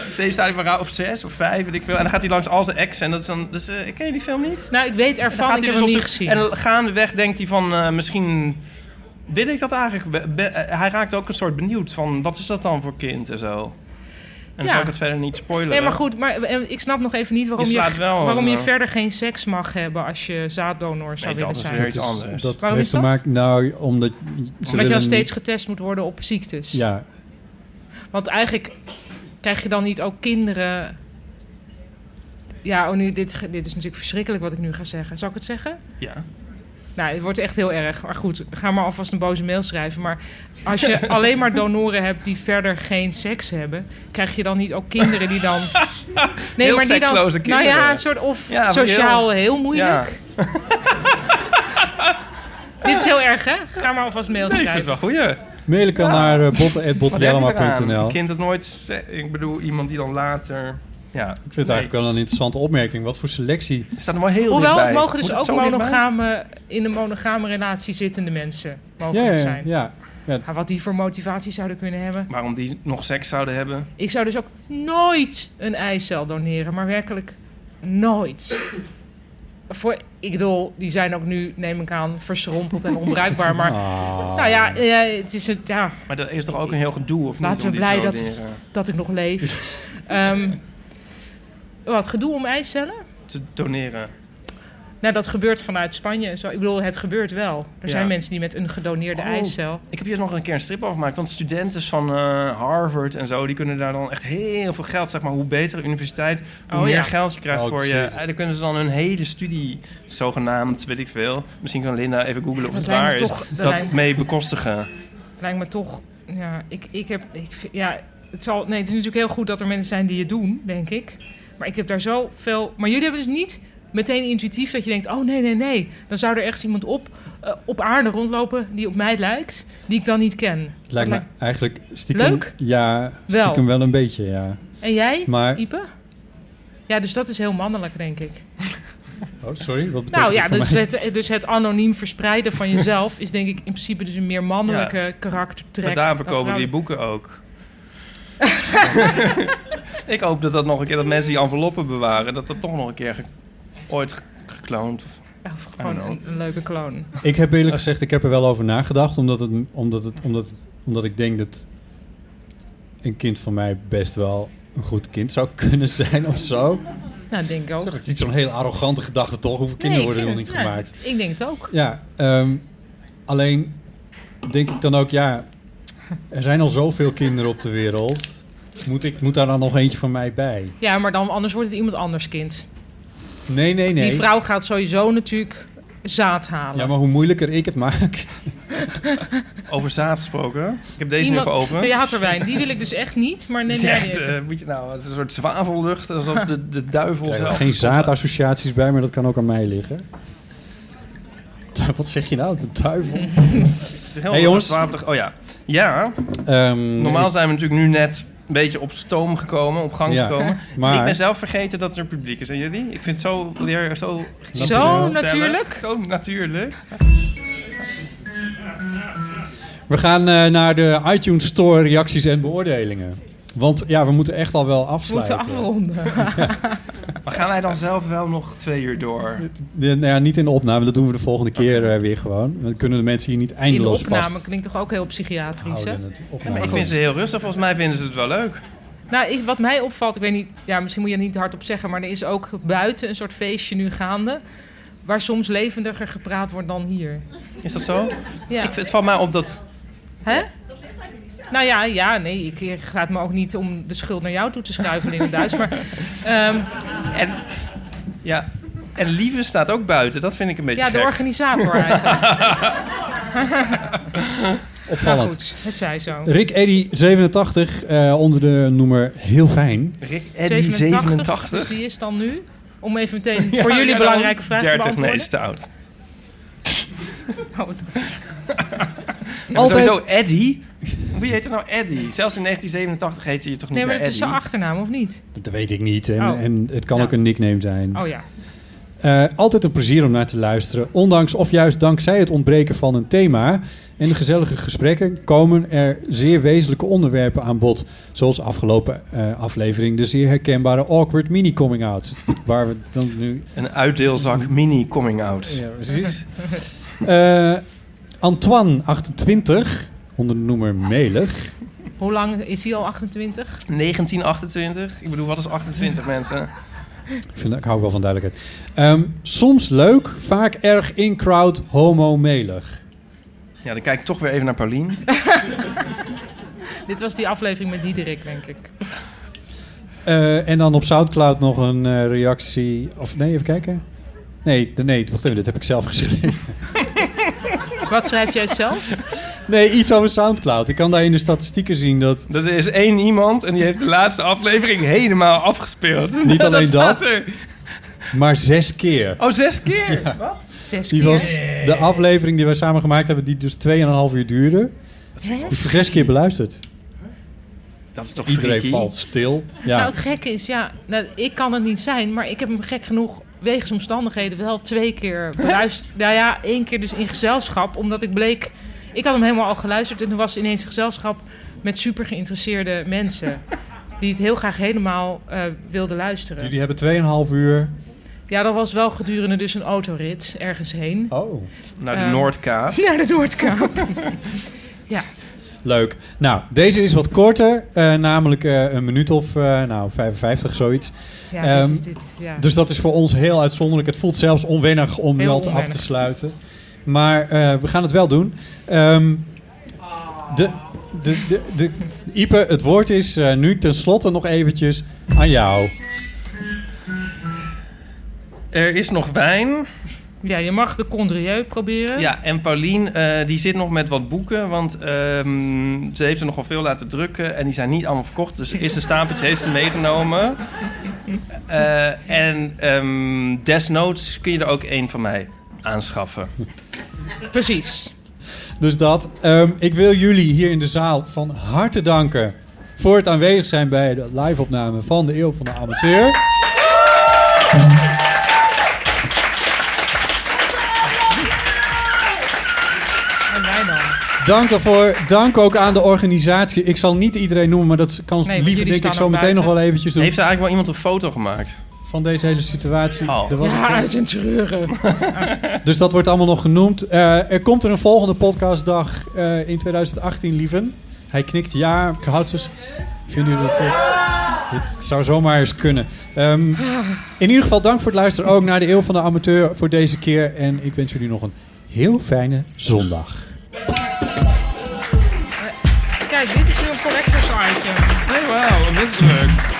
[SPEAKER 7] Zeven stadium van rouw, of zes, of vijf, weet ik veel. En dan gaat hij langs al zijn ex en dat is dan, dus, eh, ik ken die film niet.
[SPEAKER 3] Nou, ik weet
[SPEAKER 7] En dan
[SPEAKER 3] ervan.
[SPEAKER 7] gaat
[SPEAKER 3] Ik
[SPEAKER 7] hij dus
[SPEAKER 3] heb hem
[SPEAKER 7] op
[SPEAKER 3] niet
[SPEAKER 7] zich-
[SPEAKER 3] gezien.
[SPEAKER 7] En dan gaandeweg denkt hij van, eh, misschien wil ik dat eigenlijk. Be- be- eh, hij raakt ook een soort benieuwd van, wat is dat dan voor kind en zo. En dan
[SPEAKER 3] Ja.
[SPEAKER 7] zou ik het verder niet spoileren.
[SPEAKER 3] Nee, maar goed, maar eh, ik snap nog even niet waarom
[SPEAKER 7] Je
[SPEAKER 3] je,
[SPEAKER 7] slaat wel,
[SPEAKER 3] waarom je
[SPEAKER 7] eh,
[SPEAKER 3] verder geen seks mag hebben als je zaaddonor zou
[SPEAKER 7] Nee,
[SPEAKER 3] willen
[SPEAKER 7] dat is
[SPEAKER 3] zijn.
[SPEAKER 7] weer
[SPEAKER 3] Omdat
[SPEAKER 7] iets
[SPEAKER 6] dat, is-
[SPEAKER 7] anders.
[SPEAKER 6] dus dat
[SPEAKER 3] Waarom
[SPEAKER 6] heeft
[SPEAKER 3] is
[SPEAKER 6] te
[SPEAKER 3] dat?
[SPEAKER 6] maken... Nou, omdat
[SPEAKER 3] je
[SPEAKER 6] ze willen
[SPEAKER 3] dan steeds
[SPEAKER 6] niet-
[SPEAKER 3] getest moet worden op ziektes.
[SPEAKER 6] Ja,
[SPEAKER 3] Want eigenlijk krijg je dan niet ook kinderen. Ja, oh, nu, dit, ge- dit is natuurlijk verschrikkelijk wat ik nu ga zeggen. Zal ik het zeggen?
[SPEAKER 7] Ja.
[SPEAKER 3] Nou, het wordt echt heel erg. Maar goed, ga maar alvast een boze mail schrijven. Maar als je alleen maar donoren hebt die verder geen seks hebben, krijg je dan niet ook kinderen die dan. Nee,
[SPEAKER 7] Heel
[SPEAKER 3] die dan.
[SPEAKER 7] seksloze
[SPEAKER 3] Nou ja,
[SPEAKER 7] kinderen.
[SPEAKER 3] een soort of
[SPEAKER 7] Ja,
[SPEAKER 3] sociaal heel, moeilijk.
[SPEAKER 7] Ja,
[SPEAKER 3] Dit is heel erg, hè? Ga maar alvast mail
[SPEAKER 7] nee, ik vind het
[SPEAKER 3] schrijven.
[SPEAKER 7] wel goeie.
[SPEAKER 6] mailen kan naar eh,
[SPEAKER 7] Wat heb je eraan?
[SPEAKER 6] botten.bottenjellema.nl
[SPEAKER 7] Een kind dat nooit, ze- ik bedoel, iemand die dan later... Ja,
[SPEAKER 6] Ik vind het eigenlijk wel een interessante opmerking. Wat voor selectie.
[SPEAKER 7] staat er wel heel
[SPEAKER 3] Hoewel,
[SPEAKER 7] dichtbij.
[SPEAKER 3] het mogen dus
[SPEAKER 7] Moet het
[SPEAKER 3] ook
[SPEAKER 7] zo dichtbij?
[SPEAKER 3] monogame, in een monogame relatie zittende mensen
[SPEAKER 6] Ja,
[SPEAKER 3] mogelijk
[SPEAKER 6] ja,
[SPEAKER 3] zijn.
[SPEAKER 6] ja.
[SPEAKER 3] Maar wat die voor motivatie zouden kunnen hebben.
[SPEAKER 7] waarom die nog seks zouden hebben.
[SPEAKER 3] Ik zou dus ook nooit een eicel doneren, maar werkelijk nooit. Voor, ik bedoel, die zijn ook nu, neem ik aan, verschrompeld en onbruikbaar. Maar
[SPEAKER 6] Ah.
[SPEAKER 3] nou ja, eh, het is het, ja,
[SPEAKER 7] Maar dat is toch ook een heel gedoe, of
[SPEAKER 3] Laten
[SPEAKER 7] niet?
[SPEAKER 3] we
[SPEAKER 7] om die
[SPEAKER 3] blij
[SPEAKER 7] zo
[SPEAKER 3] dat-
[SPEAKER 7] dingen
[SPEAKER 3] dat ik nog leef. Ehm, wat gedoe om eicellen?
[SPEAKER 7] te doneren.
[SPEAKER 3] Nou, dat gebeurt vanuit Spanje. en Zo, ik bedoel, het gebeurt wel. Er
[SPEAKER 7] Ja.
[SPEAKER 3] zijn mensen die met een gedoneerde
[SPEAKER 7] Oh.
[SPEAKER 3] eicel.
[SPEAKER 7] Ik heb hier nog een keer een strip over gemaakt. Want studenten van eh, Harvard en zo, die kunnen daar dan echt heel veel geld, zeg maar, hoe betere universiteit, hoe
[SPEAKER 3] Oh,
[SPEAKER 7] meer
[SPEAKER 3] ja.
[SPEAKER 7] geld je krijgt
[SPEAKER 6] Oh,
[SPEAKER 7] voor je.
[SPEAKER 6] jezus.
[SPEAKER 7] En dan kunnen ze dan hun hele studie, zogenaamd, weet ik veel. Misschien kan Linda even googlen of
[SPEAKER 3] Dat
[SPEAKER 7] het
[SPEAKER 3] lijkt me
[SPEAKER 7] waar is.
[SPEAKER 3] toch- dat
[SPEAKER 7] dat
[SPEAKER 3] lijkt-
[SPEAKER 7] mee bekostigen.
[SPEAKER 3] Lijkt me toch. Ja, ik, ik heb. Ik, vind- ja, het, zal, nee, het is natuurlijk heel goed dat er mensen zijn die het doen, denk ik. Maar ik heb daar zoveel. Maar jullie hebben dus niet meteen intuïtief dat je denkt: oh nee, nee, nee. Dan zou er ergens iemand op, eh, op aarde rondlopen die op mij lijkt, die ik dan niet ken.
[SPEAKER 6] Het lijkt me
[SPEAKER 3] Dat
[SPEAKER 6] eigenlijk stiekem...
[SPEAKER 3] Leuk?
[SPEAKER 6] Ja,
[SPEAKER 3] Wel.
[SPEAKER 6] stiekem wel een beetje, ja.
[SPEAKER 3] lijkt- En jij,
[SPEAKER 6] Maar...
[SPEAKER 3] Ipe? Ja, dus dat is heel mannelijk, denk ik.
[SPEAKER 6] Oh, sorry, wat betekent
[SPEAKER 3] Nou ja,
[SPEAKER 6] dat voor
[SPEAKER 3] dus
[SPEAKER 6] mij?
[SPEAKER 3] het, dus het anoniem verspreiden van jezelf is denk ik in principe dus een meer mannelijke karaktertrek.
[SPEAKER 7] Maar daarom
[SPEAKER 3] dan
[SPEAKER 7] verkopen die
[SPEAKER 3] vrouwelijk.
[SPEAKER 7] boeken ook. ik hoop dat dat nog een keer, dat mensen die enveloppen bewaren, dat dat toch nog een keer ge- ooit ge- gekloond of
[SPEAKER 3] Of Oh, gewoon een, een leuke kloon.
[SPEAKER 6] Ik heb eerlijk gezegd, ik heb er wel over nagedacht. Omdat, het, omdat, het, omdat, omdat ik denk dat een kind van mij best wel een goed kind zou kunnen zijn of zo.
[SPEAKER 3] Nou, denk ik ook.
[SPEAKER 6] Dat is niet zo'n hele arrogante gedachte, toch? Hoeveel kinderen
[SPEAKER 3] Nee, ik
[SPEAKER 6] worden er nog
[SPEAKER 3] vind
[SPEAKER 6] niet
[SPEAKER 3] het- ja,
[SPEAKER 6] gemaakt?
[SPEAKER 3] Ik denk het ook.
[SPEAKER 6] Ja, ehm, alleen denk ik dan ook, ja, er zijn al zoveel kinderen op de wereld. Moet, ik, moet daar dan nog eentje van mij bij?
[SPEAKER 3] Ja, maar dan, anders wordt het iemand anders kind.
[SPEAKER 6] Nee, nee, nee.
[SPEAKER 3] Die vrouw gaat sowieso natuurlijk zaad halen.
[SPEAKER 6] Ja, maar hoe moeilijker ik het maak.
[SPEAKER 7] Over zaad gesproken. Ik heb deze nu geopend.
[SPEAKER 3] theaterwijn, die wil ik dus echt niet, maar
[SPEAKER 7] Het
[SPEAKER 3] neem
[SPEAKER 7] is
[SPEAKER 3] jij
[SPEAKER 7] echt,
[SPEAKER 3] even.
[SPEAKER 7] eh, moet je nou, het is een soort zwavellucht, alsof de, de duivel
[SPEAKER 6] Er zijn
[SPEAKER 7] zelf...
[SPEAKER 6] geen zaadassociaties bij, maar dat kan ook aan mij liggen. Wat zeg je nou? De duivel.
[SPEAKER 7] Het is heel
[SPEAKER 6] Hey, jongens.
[SPEAKER 7] zwavelucht. Oh ja. Ja,
[SPEAKER 6] Ehm,
[SPEAKER 7] normaal zijn we natuurlijk nu net een beetje op stoom gekomen, op gang
[SPEAKER 6] Ja,
[SPEAKER 7] gekomen.
[SPEAKER 6] maar-
[SPEAKER 7] Ik ben zelf vergeten dat er publiek is. En jullie? Ik vind het zo weer zo...
[SPEAKER 3] Zo
[SPEAKER 7] gezellig.
[SPEAKER 3] Oh, natuurlijk.
[SPEAKER 7] Zo natuurlijk.
[SPEAKER 6] We gaan eh, naar de iTunes Store reacties en beoordelingen. Want ja, we moeten echt al wel
[SPEAKER 3] We moeten
[SPEAKER 6] afsluiten.
[SPEAKER 3] afronden.
[SPEAKER 7] Maar gaan wij dan zelf wel nog twee uur door?
[SPEAKER 6] Ja, nou ja, niet in de opname, dat doen we de volgende keer eh, weer gewoon. Dan kunnen de mensen hier niet
[SPEAKER 3] Die
[SPEAKER 6] eindeloos
[SPEAKER 3] opname
[SPEAKER 6] vast
[SPEAKER 3] klinkt toch ook heel psychiatrisch, hè?
[SPEAKER 6] houden. het opname.
[SPEAKER 7] Ik vind ze heel rustig. Volgens mij vinden ze het wel leuk.
[SPEAKER 3] Nou, ik- wat mij opvalt, ik weet niet, ja, misschien moet je er niet hardop zeggen, maar er is ook buiten een soort feestje nu gaande. Waar soms levendiger gepraat wordt dan hier.
[SPEAKER 7] Is dat zo?
[SPEAKER 3] Ja.
[SPEAKER 7] Ik, het valt mij op dat...
[SPEAKER 3] Hè? Nou ja, ja, nee, ik, ik ga het me ook niet om de schuld naar jou toe te schuiven in het Duits. Maar ehm,
[SPEAKER 7] En, ja, en Lieve staat ook buiten. Dat vind ik een beetje
[SPEAKER 3] ja, de
[SPEAKER 7] gek.
[SPEAKER 3] organisator eigenlijk. Nou
[SPEAKER 6] Opvallend.
[SPEAKER 3] goed, het zij zo.
[SPEAKER 6] Rick Eddy 87 eh, onder de noemer Heel Fijn.
[SPEAKER 7] Rick Eddy, 87.
[SPEAKER 3] Dus die is dan nu, om even meteen
[SPEAKER 7] Ja,
[SPEAKER 3] voor jullie
[SPEAKER 7] ja,
[SPEAKER 3] belangrijke vraag te
[SPEAKER 7] 30, nee,
[SPEAKER 3] beantwoorden.
[SPEAKER 7] is te oud.
[SPEAKER 3] Oh, wat-
[SPEAKER 6] Altijd-
[SPEAKER 7] Sowieso Eddy. Wie heet er nou Eddy? Zelfs in 1987 heette je toch niet
[SPEAKER 3] nee, maar
[SPEAKER 7] meer
[SPEAKER 3] dat is zijn
[SPEAKER 7] Eddy?
[SPEAKER 3] achternaam, of niet?
[SPEAKER 6] Dat weet ik niet en,
[SPEAKER 3] Oh.
[SPEAKER 6] en het kan
[SPEAKER 3] Ja.
[SPEAKER 6] ook een nickname zijn.
[SPEAKER 3] Oh ja.
[SPEAKER 6] Eh, altijd een plezier om naar te luisteren. Ondanks of juist dankzij het ontbreken van een thema en de gezellige gesprekken komen er zeer wezenlijke onderwerpen aan bod. Zoals afgelopen eh, aflevering de zeer herkenbare awkward mini coming out. Waar we dan nu.
[SPEAKER 7] Een uitdeelzak mini coming out.
[SPEAKER 6] Ja, precies. Eh, Antoine 28 onder de noemer Melig.
[SPEAKER 3] Hoe lang is hij al 28?
[SPEAKER 7] 1928. Ik bedoel, wat is 28 mensen?
[SPEAKER 6] Ik, vind, ik hou wel van duidelijkheid. Ehm, soms leuk, vaak erg in crowd homo Melig.
[SPEAKER 7] Ja, dan kijk ik toch weer even naar Paulien.
[SPEAKER 3] Dit was die aflevering met Diederik, denk ik.
[SPEAKER 6] Eh, en dan op Soundcloud nog een eh, reactie. Of nee, even kijken. Nee, de- nee, wacht even, dit heb ik zelf geschreven.
[SPEAKER 3] Wat schrijf jij zelf?
[SPEAKER 6] Nee, iets over Soundcloud. Ik kan daar in de statistieken zien dat.
[SPEAKER 7] Er is één iemand en die heeft de laatste aflevering helemaal afgespeeld.
[SPEAKER 6] Niet alleen
[SPEAKER 7] staat
[SPEAKER 6] dat.
[SPEAKER 7] er.
[SPEAKER 6] Maar zes keer.
[SPEAKER 7] Oh, zes keer? Wat?
[SPEAKER 3] Zes
[SPEAKER 6] Die
[SPEAKER 3] keer.
[SPEAKER 6] was de aflevering die wij samen gemaakt hebben, die dus 2,5 uur duurde. Is er zes keer beluisterd.
[SPEAKER 7] Dat is toch
[SPEAKER 6] Iedereen
[SPEAKER 7] freaky?
[SPEAKER 6] valt stil.
[SPEAKER 3] Nou,
[SPEAKER 6] Ja.
[SPEAKER 3] het gekke is, ja, nou, ik kan het niet zijn, maar ik heb hem gek genoeg wegens omstandigheden wel twee keer beluisterd. nou ja, één keer dus in gezelschap, omdat ik bleek, ik had hem helemaal al geluisterd en toen was ineens een gezelschap met super geïnteresseerde mensen. Die het heel graag helemaal eh, wilden luisteren.
[SPEAKER 6] Jullie hebben 2,5 uur.
[SPEAKER 3] Ja, dat was wel gedurende dus een autorit ergens heen.
[SPEAKER 6] Oh.
[SPEAKER 7] Naar de
[SPEAKER 3] Ehm.
[SPEAKER 7] Noordkaap.
[SPEAKER 3] Naar de Noordkaap. ja,
[SPEAKER 6] Leuk. Nou, deze is wat korter. eh, namelijk eh, een minuut of eh, nou, 55, zoiets.
[SPEAKER 3] ja, dit
[SPEAKER 6] Ehm,
[SPEAKER 3] is dit. Ja.
[SPEAKER 6] Dus dat is voor ons heel uitzonderlijk. Het voelt zelfs onwennig om nu
[SPEAKER 3] Heel
[SPEAKER 6] al te af
[SPEAKER 3] onwennig.
[SPEAKER 6] te sluiten. Maar eh, we gaan het wel doen. Ehm, de, de, de, de, Ipe, het woord is eh, nu tenslotte nog eventjes aan jou.
[SPEAKER 7] Er is nog wijn.
[SPEAKER 3] ja, je mag de Condrieu proberen.
[SPEAKER 7] Ja, en Paulien eh, die zit nog met wat boeken, want ehm, ze heeft er nogal veel laten drukken en die zijn niet allemaal verkocht. Dus er is een stapeltje heeft ze meegenomen. Eh, en ehm, desnoods kun je er ook één van mij aanschaffen.
[SPEAKER 3] Precies.
[SPEAKER 6] Dus dat. Ehm, ik wil jullie hier in de zaal van harte danken voor het aanwezig zijn bij de live-opname van de Eeuw van de Amateur.
[SPEAKER 3] En wij dan. Eh,
[SPEAKER 6] Dank daarvoor. Dank ook aan de organisatie. Ik zal niet iedereen noemen, maar dat kan
[SPEAKER 3] want
[SPEAKER 6] liever
[SPEAKER 3] jullie
[SPEAKER 6] denk ik
[SPEAKER 3] staan
[SPEAKER 6] zo
[SPEAKER 3] ook
[SPEAKER 6] meteen nog
[SPEAKER 3] buiten.
[SPEAKER 6] wel eventjes doen.
[SPEAKER 7] Heeft er eigenlijk wel iemand een foto gemaakt?
[SPEAKER 6] Van deze hele situatie.
[SPEAKER 7] Oh.
[SPEAKER 6] Er was-
[SPEAKER 3] Ja, uit en treuren.
[SPEAKER 6] Dus dat wordt allemaal nog genoemd. Eh, er komt er een volgende podcastdag eh, in 2018, lieven. Hij knikt ja, Kahoutses. Vinden jullie dat goed? Dit zou zomaar eens kunnen. Ehm, in ieder geval dank voor het luisteren ook naar de Eeuw van de Amateur voor deze keer. En ik wens jullie nog een heel fijne zondag.
[SPEAKER 3] Kijk.
[SPEAKER 10] kijk, dit is nu een collector's item.
[SPEAKER 3] Hey, wauw, dit is leuk.